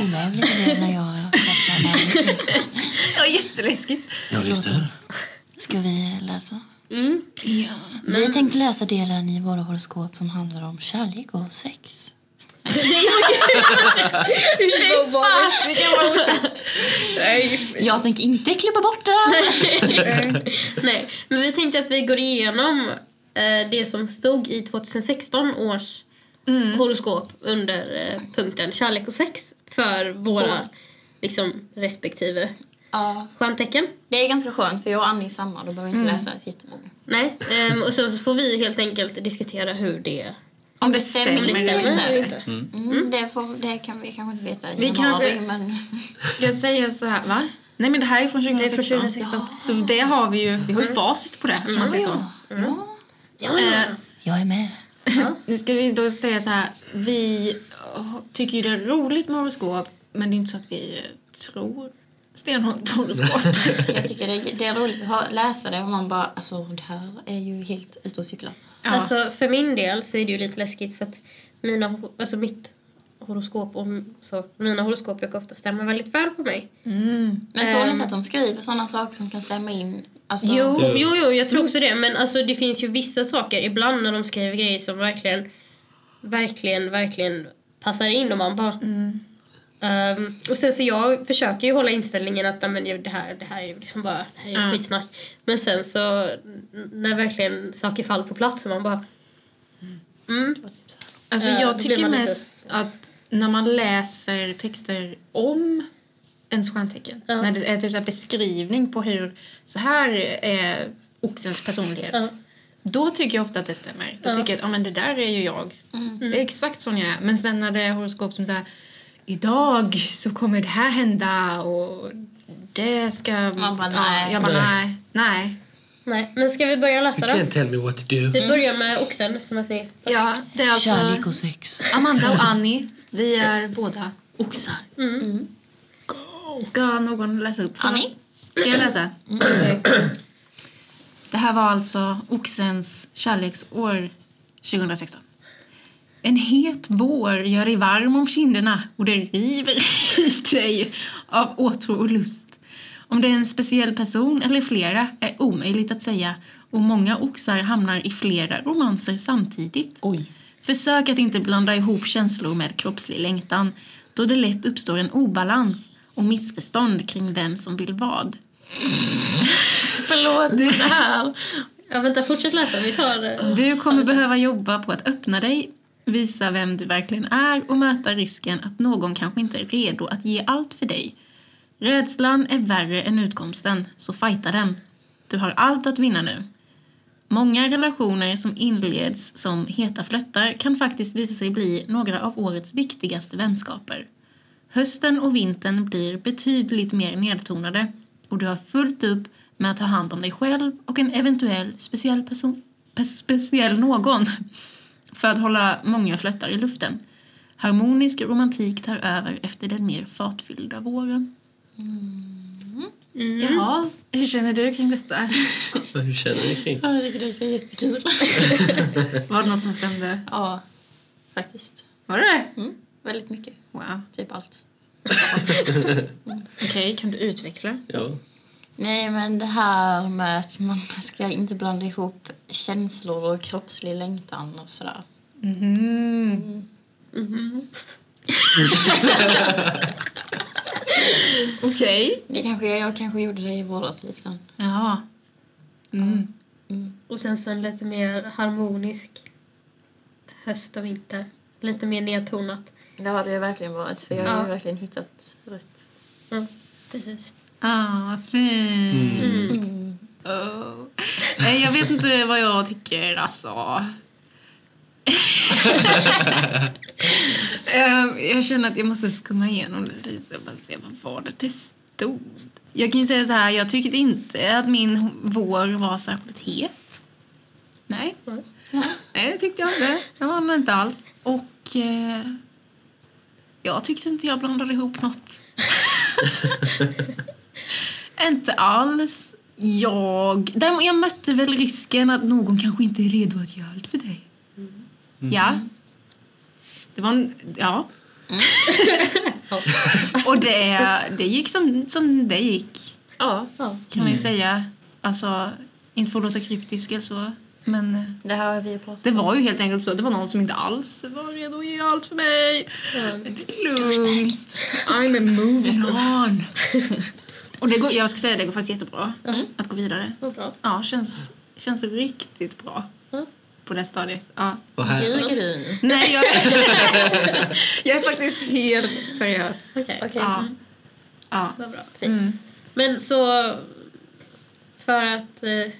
S1: olägligt det blev när jag pratade
S6: Det var jätteläskigt.
S2: Jag lyssnar.
S1: Ska vi läsa?
S7: Mm.
S6: Ja.
S1: Vi tänkte läsa delen i våra horoskop som handlar om kärlek och sex. Jag tänker inte klippa bort det där.
S7: Nej, men vi tänkte att vi går igenom eh, det som stod i 2016 års
S6: Mm.
S7: horoskop under eh, punkten kärlek och sex för våra liksom, respektive
S1: Ja,
S7: stjärntecken.
S1: det är ganska skönt för jag och Annie är samma. Då behöver vi inte läsa jättemånga.
S7: Nej, ehm, och sen så får vi helt enkelt diskutera hur det,
S1: Om det stämmer,
S7: om det stämmer eller inte.
S1: Mm, det, får, det kan vi kanske inte veta i
S6: Vi
S1: januari,
S6: kanske-
S1: men...
S6: Ska jag säga så här, va? Nej men det här är från Mm. 2016.
S7: Det är från 2016.
S6: Så det har vi ju, vi har ju facit på det om man säger så.
S1: Ja,
S6: Eh,
S1: jag är med.
S6: Nu ska vi då säga så här, vi eh, tycker ju det är roligt med horoskop men det är inte så att vi eh, tror stenhårt på horoskop.
S1: Jag tycker det, det är roligt att hö- läsa det och man bara, alltså det här är ju helt ute och cyklar.
S6: Ja.
S7: Alltså för min del så är det ju lite läskigt för att mina, hor- alltså mitt horoskop och m- så, mina horoskop brukar ofta stämma väldigt väl på mig.
S6: Mm.
S1: Men tror ni
S7: Ehm.
S1: inte att de skriver sådana saker som kan stämma in? Alltså,
S7: Jo,
S2: Mm.
S7: jo, jo, jag tror också det. Men alltså, det finns ju vissa saker ibland när de skriver grejer som verkligen, verkligen, verkligen passar in och man bara... Ehm, och sen så jag försöker ju hålla inställningen att "Nej, men det det här, det här är ju liksom bara det här är ju
S6: Ja.
S7: skitsnack. Men sen så n- när verkligen saker faller på plats så man bara... Mm,
S6: Alltså
S7: Eh,
S6: jag
S7: då blir
S6: tycker
S7: man lite-
S6: mest att när man läser texter om ens stjärntecken,
S7: Ja.
S6: när det är typ en beskrivning på hur så här är oxens personlighet,
S7: Ja.
S6: då tycker jag ofta att det stämmer. Då
S7: Ja. Mm.
S6: tycker jag att ah, men det där är ju jag. Det är exakt sån jag är. Men sen när det är horoskop som säger idag så kommer det här hända och det ska...
S1: Man bara, nej.
S6: Ja, jag bara nej. Nej.
S7: nej. Men ska vi börja läsa
S2: You
S7: då?
S2: can't tell me what to do.
S7: Vi börjar med oxen eftersom att ni är först.
S6: Ja, det är alltså
S1: Kärlek och sex.
S6: Amanda och Annie, vi är båda oxar. Mm. Ska någon läsa upp för
S1: Annie? Mm.
S6: oss? Ska jag läsa? Det här var alltså Oxens kärleksår 2016. En het vår gör dig varm om kinderna och det river i dig av åtrå och lust. Om det är en speciell person eller flera är omöjligt att säga och många oxar hamnar i flera romanser samtidigt.
S1: Oj.
S6: Försök att inte blanda ihop känslor med kroppslig längtan då det lätt uppstår en obalans och missförstånd kring vem som vill vad.
S7: Förlåt för det här. Ja, vänta, fortsätt läsa. Vi tar... eh,
S6: Du kommer behöva jobba på att öppna dig, visa vem du verkligen är och möta risken att någon kanske inte är redo att ge allt för dig. Rädslan är värre än utkomsten, så fighta den. Du har allt att vinna nu. Många relationer som inleds som heta flörtar kan faktiskt visa sig bli några av årets viktigaste vänskaper. Hösten och vintern blir betydligt mer nedtonade och du har fullt upp med att ta hand om dig själv och en eventuell speciell person, pe- speciell någon för att hålla många flöttar i luften. Harmonisk romantik tar över efter den mer fartfyllda våren. Mm. Jaha, hur känner du kring detta?
S2: Hur känner ni kring?
S1: Ja, det är jättekul.
S6: Var det något som stämde?
S1: Ja, faktiskt.
S6: Var det?
S1: Mm. Väldigt mycket.
S6: Wow.
S1: Typ allt.
S6: Okej, kan du utveckla?
S2: Ja.
S1: Nej, men det här med att man ska inte blanda ihop känslor och kroppslig längtan och sådär.
S6: Okej.
S1: Det kanske jag, jag kanske gjorde det i våras lite grann.
S6: Ja. Mm.
S7: Och sen så en lite mer harmonisk höst och vinter. Lite mer nedtonat.
S1: Det har det verkligen varit, för jag har
S7: Ja.
S1: ju verkligen hittat rätt.
S7: Mm, precis.
S6: Ah, vad fint. Oh. Nej, jag vet inte vad jag tycker, alltså. Eh, jag känner att jag måste skumma igenom det lite och bara se vad var det det stod. Jag kan ju säga så här, jag tyckte inte att min vår var särskilt het. Nej. Nej, det tyckte jag inte. Det var den inte alls. Och eh, jag tyckte inte jag blandade ihop något. Inte alls. Jag, däremot, jag mötte väl risken att någon kanske inte är redo att göra allt för dig.
S7: Mm. Mm.
S6: Ja. Det var en, ja. Och det, det gick som, som det gick,
S7: Ja. ja. Mm.
S6: kan man ju säga. Alltså, inte för att låta kryptisk eller så, men eh,
S1: Det här har vi pratat
S6: det var ju helt enkelt så. Det var någon som inte alls var redo att ge allt för mig. Lugnt.
S7: I'm a movie.
S6: Moving on. Och det går, jag ska säga det går faktiskt jättebra att gå vidare.
S7: Vad bra.
S6: Ja, känns, känns riktigt bra.
S7: Mm.
S6: På det stadiet. Ja.
S2: Vad
S1: om.
S2: här?
S1: Ljuger du nu?
S6: Nej, jag, jag är faktiskt helt seriös.
S7: Okej.
S1: Okej.
S6: Ja. Ja.
S7: Vad bra.
S1: Fint.
S6: Mm.
S7: Men så för att eh,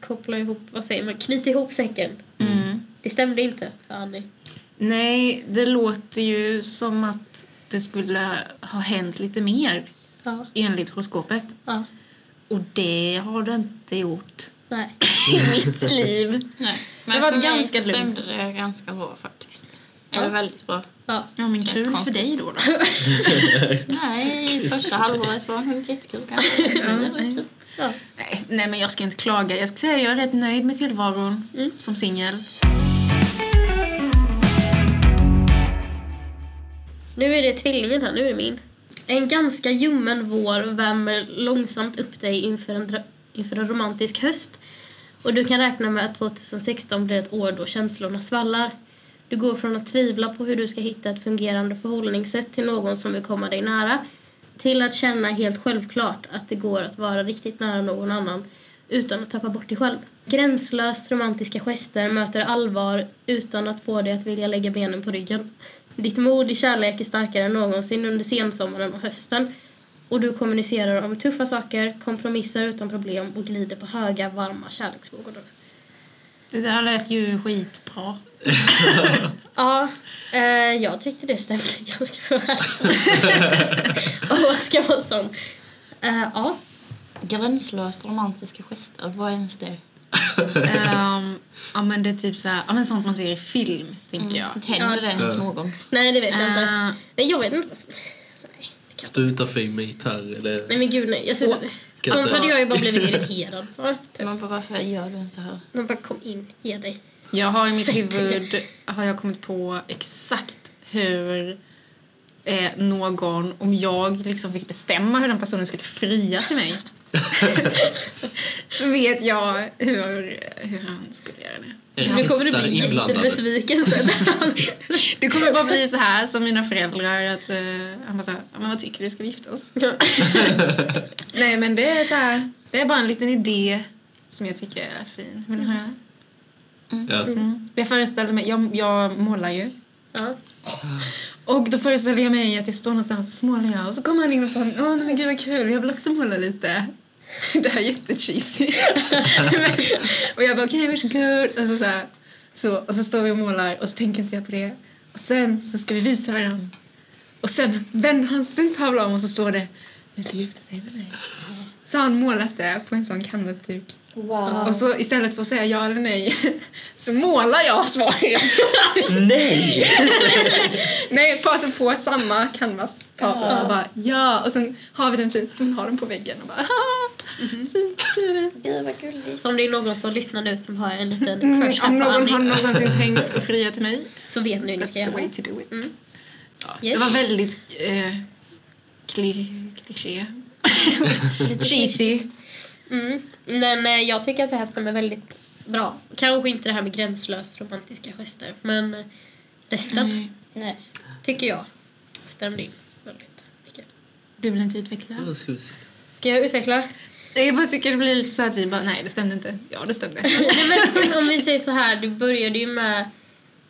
S7: koppla ihop, vad säger man, knyta ihop säcken.
S6: Mm.
S7: Det stämde inte för Annie.
S6: Nej, det låter ju som att det skulle ha hänt lite mer
S7: Ja.
S6: enligt horoskopet.
S7: Ja.
S6: Och det har det inte gjort.
S7: Nej.
S6: I mitt liv.
S1: Nej.
S6: Det
S1: Men
S6: var
S1: för mig
S6: ganska
S1: så stämde
S6: lugnt.
S1: det ganska bra faktiskt. Eller väldigt bra.
S7: Ja.
S6: Ja, men
S1: Känns
S6: kul för
S1: konstigt.
S6: dig då. då.
S1: Nej, första halvåret var nog inte jättekul kanske. Men det var rätt kul.
S7: ja.
S6: Nej, nej, men jag ska inte klaga. Jag ska säga att jag är rätt nöjd med tillvaron som singel.
S7: Nu är det tvillingen här, nu är det min. En ganska ljummen vår värmer långsamt upp dig inför en, dra- inför en romantisk höst. Och du kan räkna med att 2016 blir ett år då känslorna svallar. Du går från att tvivla på hur du ska hitta ett fungerande förhållningssätt till någon som vill komma dig nära till att känna helt självklart att det går att vara riktigt nära någon annan utan att tappa bort dig själv. Gränslöst romantiska gester möter allvar utan att få dig att vilja lägga benen på ryggen. Ditt mod i kärlek är starkare än någonsin under sensommaren och hösten och du kommunicerar om tuffa saker, kompromissar utan problem och glider på höga, varma kärleksvågor.
S6: Det där lät ju skitbra.
S7: Ja, eh, jag tyckte det stämde ganska väl. och vad ska man som? Eh, ja,
S1: Gränslöst romantiska gester, vad är ens det?
S6: Ehm, ja, men det är typ så här, ja, men sånt man ser i film, tänker jag.
S1: Händer det ens någon?
S7: nej det vet jag inte.
S6: Eh,
S7: Nej, jag vet inte. vad som-
S2: Stå utanför i mig här eller?
S7: Nej men gud nej. Jag
S6: Åh,
S7: syns,
S2: kan
S7: sånt
S2: säga.
S7: hade jag ju bara blivit irriterad för. Typ.
S1: Man bara, varför gör du ens det här?
S7: De bara kom in, ge dig. Typ.
S6: Jag har i mitt
S7: Sätt dig ner.
S6: huvud har jag kommit på exakt hur eh, någon, om jag liksom fick bestämma hur den personen skulle fria till mig så vet jag hur, hur han skulle göra det.
S2: Är
S7: Nu kommer du
S2: hästar
S7: bli
S2: inblandade?
S7: jättebesviken sen.
S6: Det kommer bara bli så här som mina föräldrar. Att, eh, han bara så här, "Ja, men vad tycker du, ska vi gifta oss? Nej men det är så här, det är bara en liten idé som jag tycker är fin. Vill ni höra?
S2: Ja.
S6: Mm. Jag föreställer mig, jag, jag målar ju.
S7: ja.
S6: Och då föreställer jag mig att jag står någonstans och smålar jag och så kommer han in och bara åh nej, men gud vad kul, jag vill också måla lite. Det här är jättecheesy. Men- och jag bara okej varsågod. Och så, så, här, så, och så står vi och målar och så tänker inte jag på det. Och sen så ska vi visa varandra. Och sen vänder han sin tavla om och så står det vill du gifta dig med mig? Så har han målat det på en sån canvasduk.
S5: Wow.
S6: Och så istället för att säga ja eller nej så målar jag svaret.
S2: Nej!
S6: Nej, passa på samma canvas-tavla och bara ja. Och sen har vi den fint, så kan man ha den på väggen och bara haha, fint blir det.
S5: Gud vad gulligt.
S7: Så om det är någon som lyssnar nu som har en liten
S6: Mm,
S7: crush här
S6: om
S7: på
S6: någon har
S7: Annie
S6: någonsin tänkt att fria till mig,
S7: så vet ni hur ni ska
S6: that's the way
S7: göra.
S6: to do it. Det
S7: Yes.
S6: var väldigt eh, kli, kliché. Cheesy.
S7: Mm. Men eh, jag tycker att det här stämmer väldigt bra. Kanske inte det här med gränslöst romantiska gester men eh, resten
S5: Nej.
S7: tycker jag stämde in väldigt mycket.
S6: Du vill inte utveckla?
S2: Då ska vi se.
S7: Ska jag utveckla?
S6: Nej, Jag bara tycker det blir lite så att vi bara, nej det stämde inte. Ja, det stämde.
S7: Nej, men om vi säger så här, du började ju med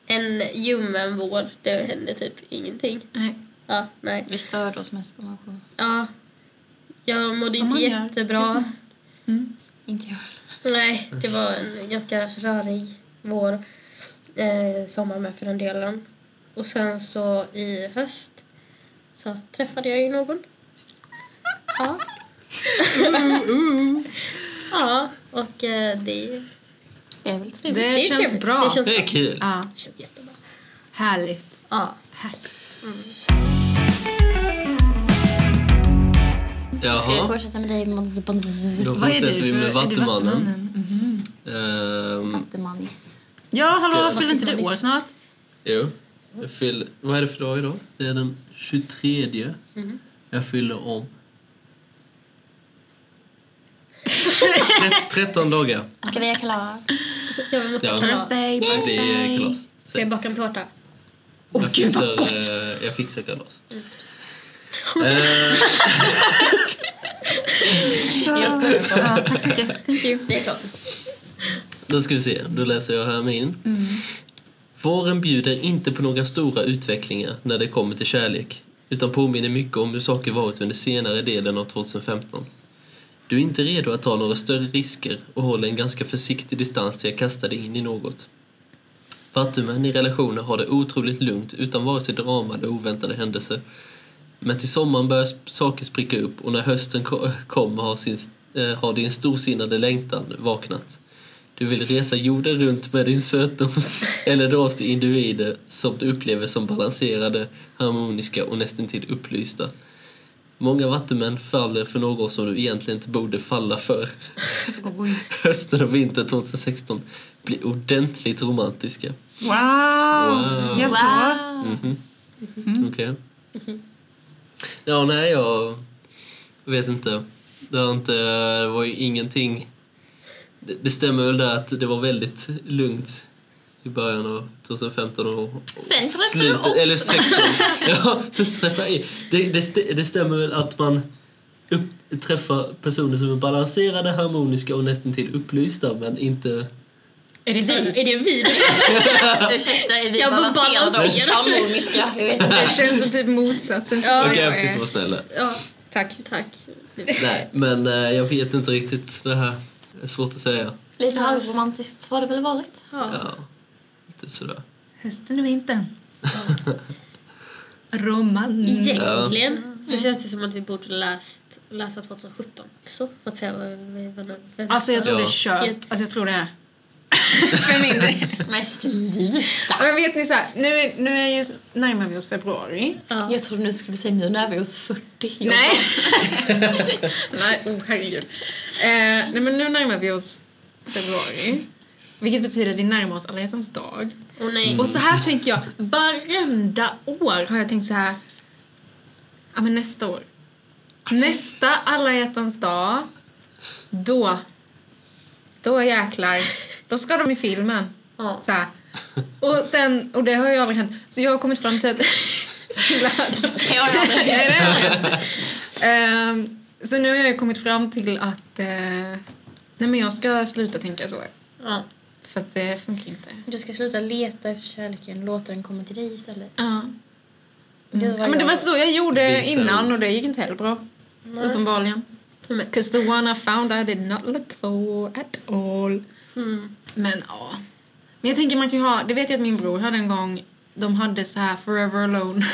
S7: en ljummen vård. Det hände typ ingenting.
S6: Nej.
S7: Ja, nej.
S1: Vi störde oss mest på människor.
S7: Ja. Jag mådde
S6: Som
S7: inte
S6: man gör. Mm.
S7: jättebra.
S1: Inte jag.
S7: Nej, det var en ganska rörig vår. Eh, sommar med för den delen. Och sen så i höst så träffade jag ju någon. Ja. ja, och eh, det,
S1: Det är väl trevligt.
S6: Det,
S7: är
S6: känns
S7: trevligt.
S6: bra.
S7: Det känns,
S2: Det är kul.
S6: Ja,
S7: det känns jättebra.
S6: härligt.
S7: Ja.
S6: härligt.
S1: Ska vi
S2: Jaha.
S1: fortsätta med dig,
S2: Då
S6: Vad är
S2: fortsätter
S6: du
S2: vi
S6: för,
S2: med
S6: är du
S2: Vattumannen.
S6: Vattumannen? Mhm.
S2: Ehm,
S1: Mattemanis?
S6: Ja,
S2: Ska-
S6: hallå, fyller inte du år snart?
S2: Jo. Jag fyller, vad är det för dag idag? Det är den 23.
S6: Mm.
S2: Jag fyller om. 13 dagar.
S1: Ska vi ha kalas?
S7: Ja, vi måste
S2: Ja.
S7: ha kalas.
S2: Det blir kalas.
S7: Ska jag baka en tårta?
S2: Åh jag gud vad gott! Jag fixar kalas.
S6: Mm.
S2: Eh,
S6: Ja, tack så mycket. Thank you.
S5: Det är klart.
S2: Då ska vi se, då läser jag här min.
S6: Mm.
S2: Våren bjuder inte på några stora utvecklingar när det kommer till kärlek utan påminner mycket om hur saker varit under senare delen av 2015. Du är inte redo att ta några större risker och håller en ganska försiktig distans till att kasta dig in i något. Vattumän i relationer har det otroligt lugnt utan vare sig drama eller oväntade händelser. Men till sommaren börjar sp- saker spricka upp och när hösten ko- kommer har, sin, eh, har din storsinnade längtan vaknat. Du vill resa jorden runt med din sötnos eller dras till individer som du upplever som balanserade, harmoniska och nästintill upplysta. Många vattenmän faller för något som du egentligen inte borde falla för. Hösten och vintern 2016 blir ordentligt romantiska.
S6: Wow!
S2: Wow.
S6: Jag så.
S2: Mhm. Okej. Ja, nej, jag vet inte. Det, har inte, det var ju ingenting... Det, det stämmer väl där att det var väldigt lugnt i början av 2015 och, och
S1: Sen träffade du
S2: slutet-
S1: oss.
S2: Eller 16. ja, sen träffade jag er. det, det, st- det stämmer väl att man upp, träffar personer som är balanserade, harmoniska och nästintill upplysta men inte...
S6: Är det vi?
S7: Är det vi?
S1: Ursäkta, är vi
S7: Jag var
S1: balanserade och
S7: balanserad.
S1: harmoniska? Jag vet inte.
S6: Det känns som typ motsatsen. till
S7: Ja,
S6: vad
S2: Okej, jag
S6: är.
S2: försökte vara snäll. här.
S7: Ja, tack. Tack.
S2: Nej, men eh, jag vet inte riktigt det här. Det är svårt att säga.
S1: Lite halvromantiskt har det väl varit?
S2: Ja, lite sådär.
S6: Hösten och vintern. Romanin.
S7: Egentligen så känns det som att vi borde läst läsa 2017 också för att se vad vi vad- vem-
S6: Alltså jag tror
S2: Ja.
S6: det är kört. Alltså jag tror det är. För min del.
S1: Men sluta!
S6: Men vet ni så här, nu, är- nu är ju, närmar vi oss februari.
S7: Ja.
S1: Jag trodde du skulle säga nu när vi är oss 40. Jag
S6: Nej! nej, oh herregud. Eh, nej men nu närmar vi oss februari. Vilket betyder att vi närmar oss alla hjärtans dag.
S7: Åh nej.
S6: Och så här tänker jag, varenda år har jag tänkt så här. Ja men nästa år. Nästa alla hjärtans dag. Då. Då jäklar. Då ska de i filmen.
S7: Ja.
S6: Så här. Och sen, och det har ju aldrig hänt. Så jag har kommit fram till att... till att
S1: kan göra det.
S6: Nej, det har jag inte. Ehm, så nu har jag ju kommit fram till att eh, nej men jag ska sluta tänka så.
S7: Ja.
S6: För att det funkar ju inte.
S5: Du ska sluta leta efter kärleken. Låta den komma till dig istället.
S6: Ja.
S5: Gud,
S6: Mm. Ja,
S5: vad
S6: men det
S5: jag-
S6: var så jag gjorde
S2: Visa
S6: innan
S2: upp.
S6: och det gick inte heller bra. Uppenbarligen.
S1: Mm.
S6: Because the one I found I did not look for at all.
S1: Mm.
S6: Men ja. Men jag tänker man kan ju ha, det vet jag att min bror hade en gång, de hade så här forever alone.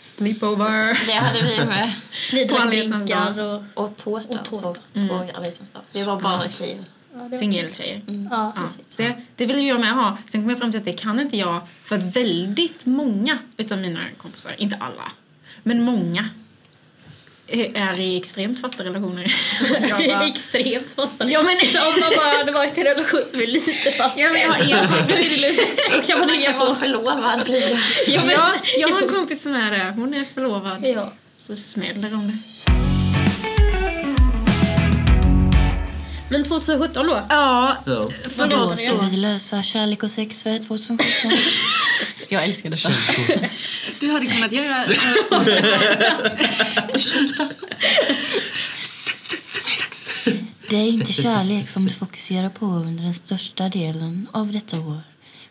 S6: Sleepover.
S1: Det hade vi med.
S7: Vi
S6: På
S7: drack
S6: alla hjärtans
S7: drinkar och...
S1: Och tårta och så. På alla hjärtans dag. Det var bara tjejer. Mm.
S6: Singeltjejer.
S7: Ja.
S6: Ja, så jag, det vill ju jag med ha. Sen kom jag fram till att det kan inte jag för att väldigt många utav mina kompisar, inte alla, men många eh, är i extremt fasta relationer. Jag bara,
S7: Extremt fasta.
S6: ja men
S7: Så om man bara hade varit i en relation som är lite fast
S6: Ja, men jag, har en kompis,
S7: då kan man
S1: Man
S7: ligga
S1: kan vara
S7: på.
S1: förlovad lite.
S7: Ja, men,
S6: jag, jag har en kompis som är det. Hon är förlovad.
S7: ja.
S6: Så smäller om det.
S7: men 2017 då?
S6: Ja,
S2: Ja.
S6: för oss då.
S1: lösa kärlek och sex för 2017. Jag älskar det.
S6: Du hade kunnat göra...
S1: Det är inte kärlek som du fokuserar på under den största delen av detta år.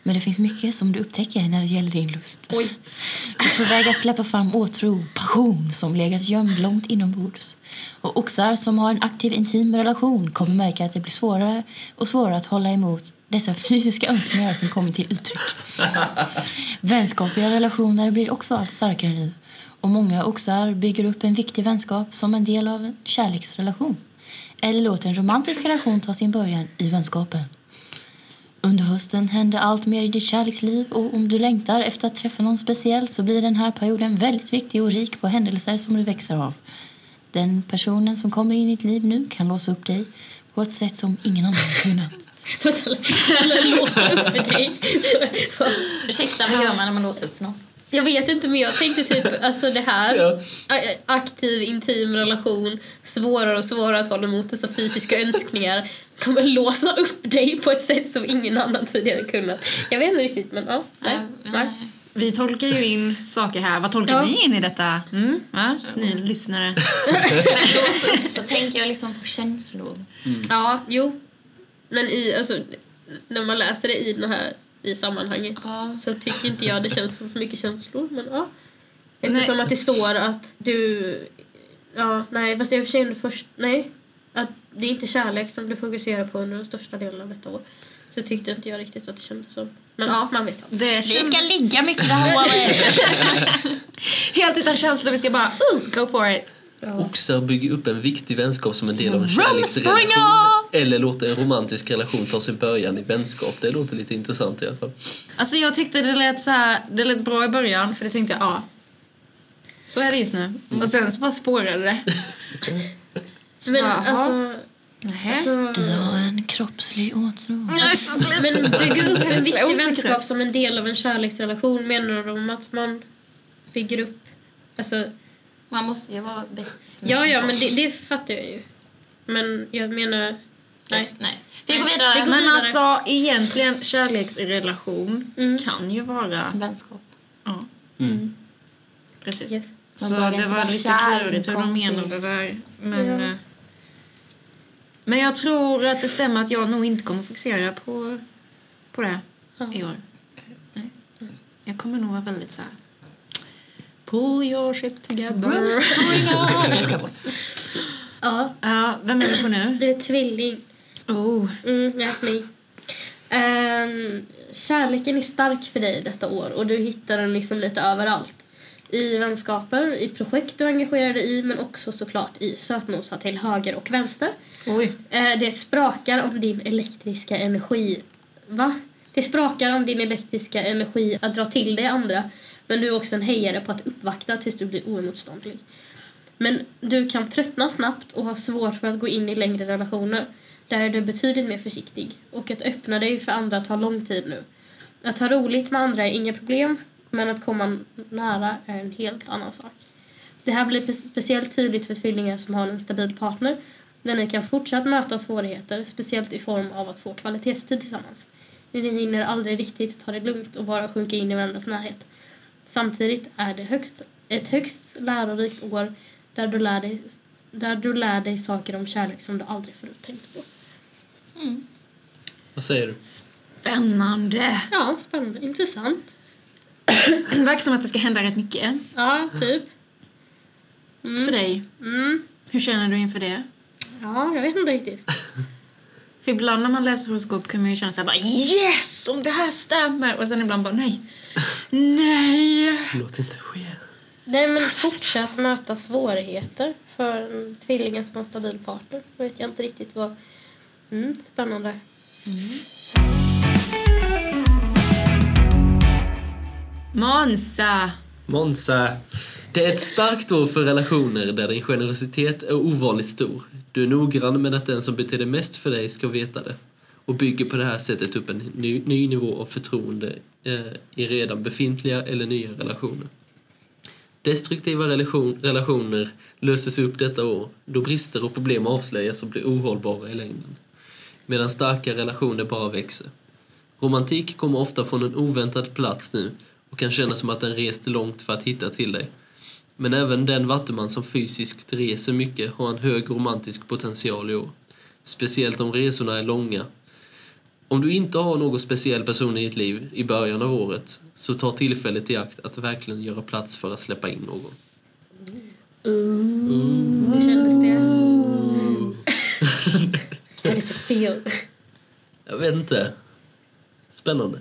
S1: Men det finns mycket som du upptäcker när det gäller din lust.
S7: Oj.
S1: Du är på väg att släppa fram åtrå, passion som legat gömd långt inombords. Och oxar som har en aktiv intim relation kommer märka att det blir svårare och svårare att hålla emot dessa fysiska önskningar som kommer till uttryck. Vänskapliga relationer blir också allt starkare nu. Och många oxar bygger upp en viktig vänskap som en del av en kärleksrelation. Eller låter en romantisk relation ta sin början i vänskapen. Under hösten händer allt mer i ditt kärleksliv och om du längtar efter att träffa någon speciell så blir den här perioden väldigt viktig och rik på händelser som du växer av. Den personen som kommer in i ditt liv nu kan låsa upp dig på ett sätt som ingen annan kunnat.
S5: För att alla- alla låser upp för dig.
S1: Ursäkta, vad gör man när man låser upp någon?
S7: Jag vet inte men jag tänkte typ alltså det här.
S2: Ja.
S7: A- Aktiv intim relation. Svårare och svårare att hålla emot dessa fysiska önskningar. Kommer låsa upp dig på ett sätt som ingen annan tidigare kunnat. Jag vet inte riktigt men ja. Nej.
S6: Ja,
S7: nej.
S6: Vi tolkar ju in saker här. Vad tolkar
S7: Ja.
S6: ni in i detta? Mm, va? Ni lyssnare.
S1: Så tänker jag liksom på känslor.
S7: Ja, jo. Men i, alltså, när man läser det i, den här, i sammanhanget
S1: Ja.
S7: så tycker inte jag det känns som för mycket känslor. Men, ja. Eftersom att det står att du... Ja, nej, fast jag förstår först... Nej. Att det är inte kärlek som du fokuserar på under den största delen av detta år. Så tyckte inte jag riktigt att det kändes som. Men ja, man vet.
S6: Det
S1: Vi
S6: känns
S1: ska ligga mycket det här året.
S6: helt utan känslor. Vi ska bara uh, go for it.
S2: Oxar bygger upp en viktig vänskap som en del av en
S6: Rumspringa!
S2: kärleksrelation eller låter en romantisk relation ta sin början i vänskap. Det låter lite intressant i alla fall.
S6: Alltså jag tyckte det lät, så här, det lät bra i början för det tänkte jag, ja. Så är det just nu.
S7: Mm.
S6: Och sen så bara spårade det. Så
S7: Men
S6: bara, jaha,
S7: alltså...
S6: nähä.
S7: alltså
S1: Du har en kroppslig åtrå.
S6: Nej, så-
S7: Mm. Men bygga upp en
S6: Jäkla
S7: viktig vänskap
S6: otäckrets.
S7: som en del av en kärleksrelation menar de att man bygger upp... Alltså,
S1: Man måste ju vara bästis med
S7: ja,
S1: sin
S7: ja,
S1: kropp.
S7: men det, det fattar jag ju. Men jag menar... Nej.
S1: Just, nej. Vi går vidare.
S7: Vi går
S6: Men
S7: vidare.
S6: alltså egentligen kärleksrelation
S7: Mm.
S6: kan ju vara...
S1: Vänskap.
S6: Ja. Precis.
S7: Yes.
S1: Man
S6: Så
S1: behöver
S6: det
S1: inte
S6: var
S1: vara
S6: lite
S1: kär i
S6: klurigt
S1: en
S6: hur de
S1: kompis.
S6: menade där. Men, eh, men jag tror att det stämmer att jag nog inte kommer fokusera på, på det i år. Nej. Jag kommer nog vara väldigt så här... Pull your shit together.
S7: Ja,
S6: Ja, vem är vi på nu?
S7: det är tvilling.
S6: Oh.
S7: Mm, that's me. Ehm, kärleken är stark för dig detta år och du hittar den liksom lite överallt. I vänskaper, i projekt du engagerar dig i men också såklart i sötnosa till höger och vänster.
S6: Oj.
S7: Eh, Det sprakar om din elektriska energi. Va? Det sprakar om din elektriska energi att dra till dig andra. Men du är också en hejare på att uppvakta tills du blir oemotståndlig. Men du kan tröttna snabbt och ha svårt för att gå in i längre relationer. Där är du betydligt mer försiktig. Och att öppna dig för andra tar lång tid nu. Att ha roligt med andra är inga problem, men att komma nära är en helt annan sak. Det här blir pe- speciellt tydligt för tvillingar som har en stabil partner där ni kan fortsatt möta svårigheter, speciellt i form av att få kvalitetstid tillsammans. Ni hinner aldrig riktigt ta det lugnt och bara sjunka in i varandras närhet. Samtidigt är det högst, ett högst lärorikt år där du, lär dig, där du lär dig saker om kärlek som du aldrig förut tänkt på.
S2: Vad säger du?
S6: Spännande.
S7: Ja, spännande. Intressant.
S6: Det verkar som att det ska hända rätt mycket
S7: Ja, typ.
S6: för dig.
S7: Mm.
S6: Hur känner du inför det?
S7: Ja, jag vet inte riktigt.
S6: För ibland när man läser horoskop kan man ju känna såhär bara yes om det här stämmer och sen ibland bara nej. Nej.
S2: Låt det inte ske.
S7: Nej, men fortsatt möta svårigheter för en tvilling som har en stabil partner. Vet jag inte riktigt vad... Mm, spännande.
S6: Monza.
S2: Monza. Det är ett starkt år för relationer där din generositet är ovanligt stor. Du är noggrann med att den som betyder mest för dig ska veta det och bygger på det här sättet upp en ny, ny nivå av förtroende eh, i redan befintliga eller nya relationer. Destruktiva relation, relationer löses upp detta år då brister och problem avslöjas och blir ohållbara i längden. Medan starka relationer bara växer. Romantik kommer ofta från en oväntad plats nu och kan kännas som att den rest långt för att hitta till dig. Men även den vattuman som fysiskt reser mycket har en hög romantisk potential i år. Speciellt om resorna är långa. Om du inte har någon speciell person i ditt liv i början av året så ta tillfället i akt att verkligen göra plats för att släppa in någon.
S7: Hur kändes det? How does it feel?
S2: Jag vet inte. Spännande.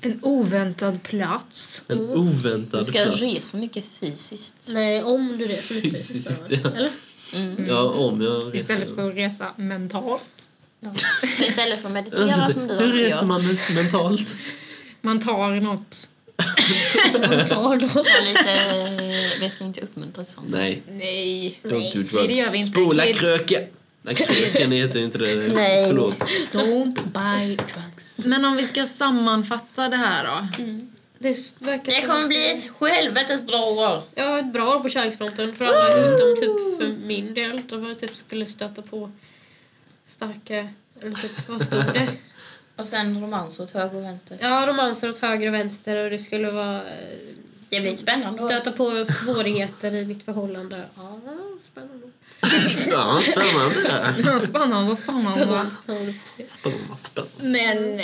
S6: En oväntad plats.
S2: En oväntad
S1: Du ska
S2: plats.
S1: resa mycket fysiskt.
S7: Nej, om du reser mycket
S2: Fysiskt,
S7: fysiskt.
S2: ja.
S7: Eller?
S2: Ja, om jag
S6: Istället för att resa mentalt.
S1: Så istället för att meditera som du
S2: Hur
S1: alltid
S2: reser
S1: gör.
S2: man mest mentalt?
S6: Man tar något.
S1: Ta lite, vi ska inte uppmuntra till sånt.
S2: Nej.
S6: Nej.
S2: Don't do drugs.
S6: Nej, det gör vi inte,
S2: Spola
S6: kids.
S2: kröken. Nej, Kraken heter inte det.
S5: Nej.
S2: Förlåt.
S4: Don't buy drugs. Men om vi ska sammanfatta det här då.
S7: Det verkar
S5: Det
S7: som-
S5: kommer bli ett helvetes bra år.
S7: Ja, ett bra år på kärleksfronten för alla utom typ för min del. Då jag typ skulle stöta på starka, eller typ vad stod det?
S5: Och sen romans åt höger och vänster.
S7: Ja, romanser åt höger och vänster och det skulle vara eh,
S5: Det blir ett spännande år.
S7: stöta på svårigheter i mitt förhållande. Ja, spännande.
S2: Ja, spännande.
S4: Spännande, spännande.
S7: Ja, vi får se.
S2: Spännande, spännande.
S4: Men...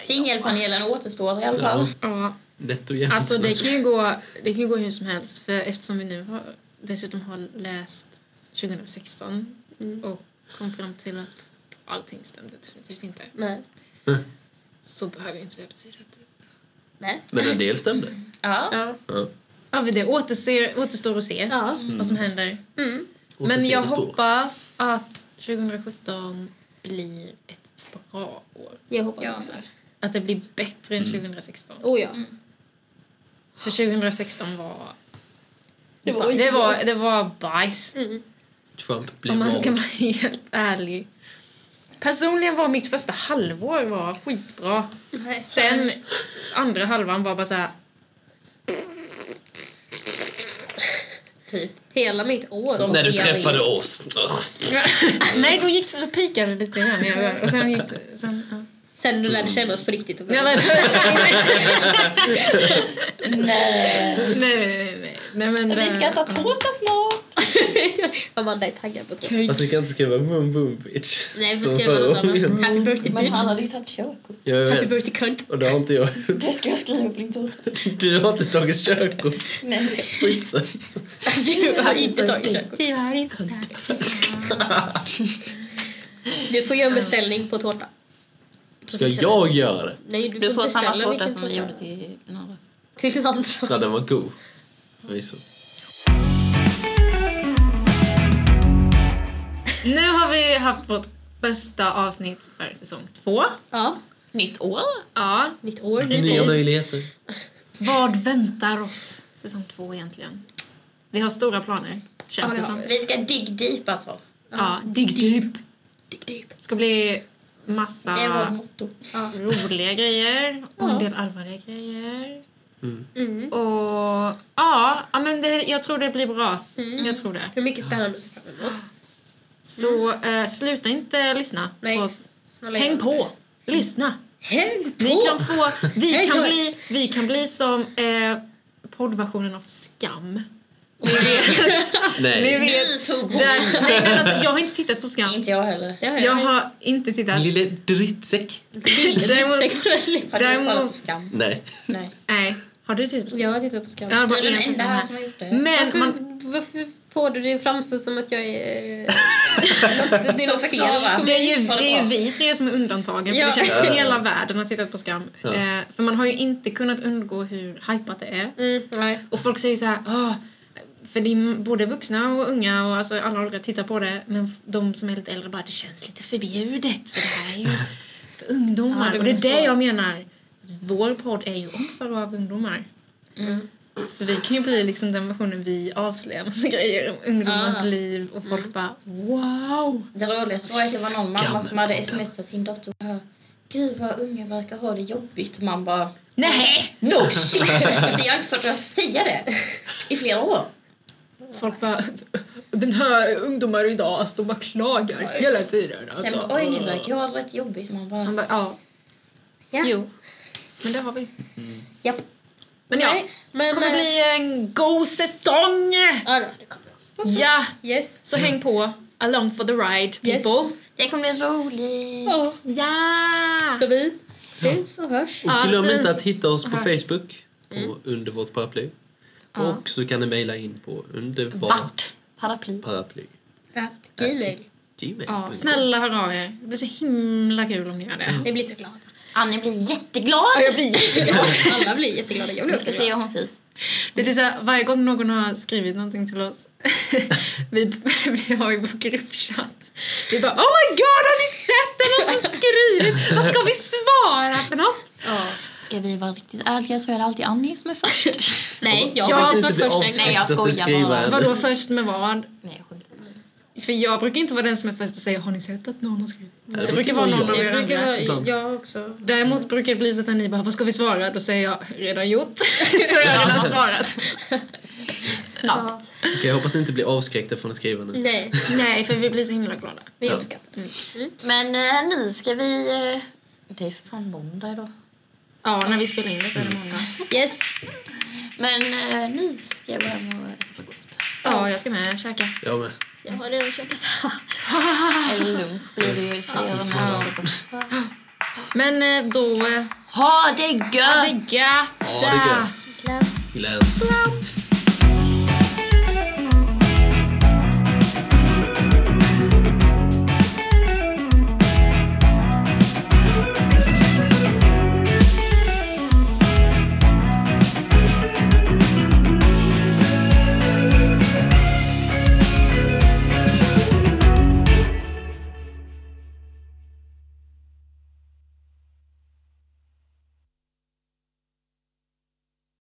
S5: Singelpanelen återstår i alla fall.
S2: Ja,
S4: Ja,
S2: lätt och jämnt.
S4: alltså det kan, ju gå, det kan ju gå hur som helst för eftersom vi nu har, dessutom har läst 2016
S6: Mm.
S4: och kom fram till att allting stämde definitivt inte
S7: Nej.
S4: så behöver ju inte det betyda att det...
S2: Men en del stämde.
S5: Ja.
S7: Ja.
S2: Ja.
S4: Ja, men det återser, återstår att se
S7: Ja.
S4: vad som händer. Men
S2: Återseende
S4: jag
S2: står.
S4: hoppas att 2017 blir ett bra år.
S7: Jag hoppas
S5: Ja,
S7: också det.
S4: Att det blir bättre än 2016.
S7: Oh ja.
S4: För 2016 var...
S7: Det var
S4: Det var, det var bajs.
S2: Trump blev
S4: Om man ska
S2: vald.
S4: vara helt ärlig. Personligen var mitt första halvår var skitbra. Sen andra halvan var bara så här...
S5: Typ.
S7: Hela mitt år.
S5: Som-
S2: När du
S5: Jag
S2: träffade oss. Ugh.
S4: Nej, då gick det, då pikade det lite grann. i ögonen. Och sen gick det... Sen, ja.
S7: Sen du lärde känna oss på riktigt. Och
S4: Ja,
S7: började-
S4: men-
S5: Nej.
S4: nej, nej, nej. nej men, det-
S5: tårta snart.
S7: Amanda är taggad på det.
S2: Fast ni kan inte skriva boom boom bitch.
S7: Nej, vi
S2: Som
S7: skriver
S2: förra
S7: något annat.
S2: gången.
S7: Happy birthday
S5: Men
S7: bitch.
S5: han hade ju tagit körkort.
S2: Ja,
S7: Happy
S2: jag vet.
S7: birthday cunt.
S2: Och det har inte jag.
S5: Det ska jag skriva på din tårta.
S2: Du har inte tagit körkort.
S5: Nej.
S2: Skitsen.
S7: Du har inte tagit körkort.
S4: Det var inte där.
S7: Du får göra en beställning på tårta. Så
S2: Ska
S7: fixar
S2: jag göra det?
S7: Nej, du,
S5: Du får samma
S7: beställa
S5: tårta
S7: vilken
S5: som vi gjorde till den andra.
S7: till den andra.
S2: Ja, den var god. Förvisso.
S4: Nu har vi haft vårt bästa avsnitt för säsong två.
S7: Ja.
S5: Nytt år?
S4: Ja.
S7: Nytt år. ny
S2: Nya
S7: tid.
S2: möjligheter.
S4: Vad väntar oss säsong två egentligen? Vi har stora planer, känns
S7: Ja,
S4: det
S7: det har
S4: som.
S5: Vi ska dig deep alltså.
S4: Ja, dig deep.
S5: Dig deep.
S4: ska bli massa
S5: Det är vårt motto.
S4: roliga grejer och en del allvarliga grejer.
S2: Mm.
S7: Mm.
S4: Och ja, ja men det, jag tror det blir bra. Jag tror det.
S7: Det är mycket spännande att se fram emot.
S4: Så eh, sluta inte lyssna
S7: Nej.
S4: på oss.
S7: Snälla, gör
S4: Häng
S7: det.
S4: på! Lyssna!
S7: Häng på!
S4: Vi kan, få, vi
S7: Häng
S4: kan,
S7: på.
S4: bli, vi kan bli som eh, poddversionen av Skam.
S2: Nej.
S4: Ni vet,
S5: Du tog hon.
S4: där, nej, men alltså, jag har inte tittat på Skam.
S5: Inte jag heller.
S7: Ja,
S4: Jag
S7: ja.
S4: har inte tittat.
S2: Lille drittsäck.
S4: Däremot,
S7: Sexuellt.
S5: Har du
S4: Däremot-
S5: kollat på Skam?
S2: Nej.
S5: Nej.
S4: nej. Har du tittat på Skam?
S7: Jag tittar på Skam.
S4: Jag har
S5: Du
S4: bara
S5: är den
S4: en
S5: enda
S4: person
S5: här
S4: här.
S5: som har gjort det.
S4: Men
S7: Varför,
S4: man,
S7: varför får du det att framstå som att jag är... eh, något, det är
S5: Så
S7: något fel.
S5: förklara.
S4: det är ju,
S5: Håller
S4: det är ju
S5: på.
S4: vi tre som är undantagen. För
S7: Ja.
S4: det känns som att
S2: Ja.
S4: hela världen har tittat på Skam.
S2: Ja.
S4: Eh, för man har ju inte kunnat undgå hur hypat det är.
S7: Mm, nej.
S4: Och folk säger så här, "Åh, för det är både vuxna och unga och alltså alla åldrar tittar på det. Men f- de som är lite äldre bara, det känns lite förbjudet för det här är ju för ungdomar.
S7: Ja, det
S4: och det är
S7: blir
S4: det
S7: så.
S4: jag menar. Vår podd är ju om för och av ungdomar.
S6: Mm.
S4: Så vi kan ju bli liksom den versionen vi avslöjar massa grejer om ungdomars
S5: Ah.
S4: liv och
S6: Mm.
S4: folk bara wow!
S5: Det roligaste var att det var någon mamma som hade
S2: Skammen.
S5: smsat sin dotter och bara, Gud vad unga verkar ha det jobbigt. Man bara
S4: Nej!
S5: No shit! Vi har inte fått att säga det i flera år.
S4: Folk bara den här ungdomar idag, alltså de bara klagar hela tiden.
S5: Sen
S4: Alltså.
S5: bara, oj ni verkar ha det rätt jobbigt. Man
S4: Man bara,
S5: bara,
S4: ja.
S7: Ja.
S4: Jo. Men det har vi.
S7: Japp.
S4: Men ja,
S7: Nej,
S4: det
S7: men...
S4: kommer
S7: eh,
S4: bli en god säsong!
S7: Ja, då, det kommer.
S4: Ja!
S7: Yes.
S4: Så häng på. Along for the ride,
S7: Yes.
S4: people.
S5: det kommer bli roligt.
S7: Ja.
S4: Ja!
S7: Så vi syns och hörs.
S2: Och
S4: Ja,
S2: glöm
S4: syns.
S2: inte att hitta oss på
S4: Här.
S2: Facebook. På Under vårt paraply.
S4: Ja.
S2: Och så kan ni mejla in på under vårt
S5: Vart? Paraply.
S2: paraply.
S7: Att Gmail.
S2: Gmail.
S4: Ja, snälla hör av er. Det blir så himla kul om ni gör
S2: Mm.
S4: det.
S7: Vi blir så glada.
S5: Annie blir jätteglad.
S4: jag blir
S7: Alla blir jätteglada. Jag blir
S5: Vi
S7: också
S5: ska
S7: glad.
S5: se hur hon ser ut.
S4: Det är typ så här, varje gång någon har skrivit någonting till oss, vi, vi har ju vår gruppchatt, vi bara oh my god har ni sett det? Någon som skrivit? Vad ska vi svara för något?
S8: Ska vi vara riktigt ärliga så är det alltid Annie som är först.
S7: Nej, jag
S2: Jag
S7: har
S2: hoppas
S7: faktiskt
S2: inte
S7: varit
S2: bli
S7: först. Nej,
S2: avskräckt
S5: jag
S2: att
S5: skojar
S2: skriva
S5: bara.
S2: en.
S4: Vadå först med vad?
S5: Nej jag skämtar.
S4: För jag brukar inte vara den som är först och säger har ni sett att någon har skrivit?
S2: det
S4: Det
S2: brukar
S4: brukar vara
S2: vara
S4: någon av
S2: jag.
S4: er
S7: brukar
S4: andra.
S7: vara,
S2: Ibland.
S7: jag också.
S4: Däremot brukar det bli så att när ni bara vad ska vi svara? Då säger jag redan gjort. så har jag redan svarat.
S8: Snabbt.
S2: Okej, jag hoppas ni inte blir avskräckta från att skriva nu.
S7: Nej,
S4: Nej för vi blir så himla glada.
S7: vi uppskattar.
S8: Men eh, nu ska vi... Eh, det är fan måndag idag.
S4: Ja när vi spelar in det så är det måndag.
S8: Yes! Men eh, nu ska jag gå hem och äta frukost.
S4: Ja jag ska med käka.
S2: Jag med.
S7: Jag har redan käkat.
S8: Eller lunch blir det ju i och för sig. eller
S4: Ja.
S8: något frukost.
S4: Men eh, då... eh,
S8: Ha det gött!
S4: Ha det gött!
S2: Ja, det är gött. Glad.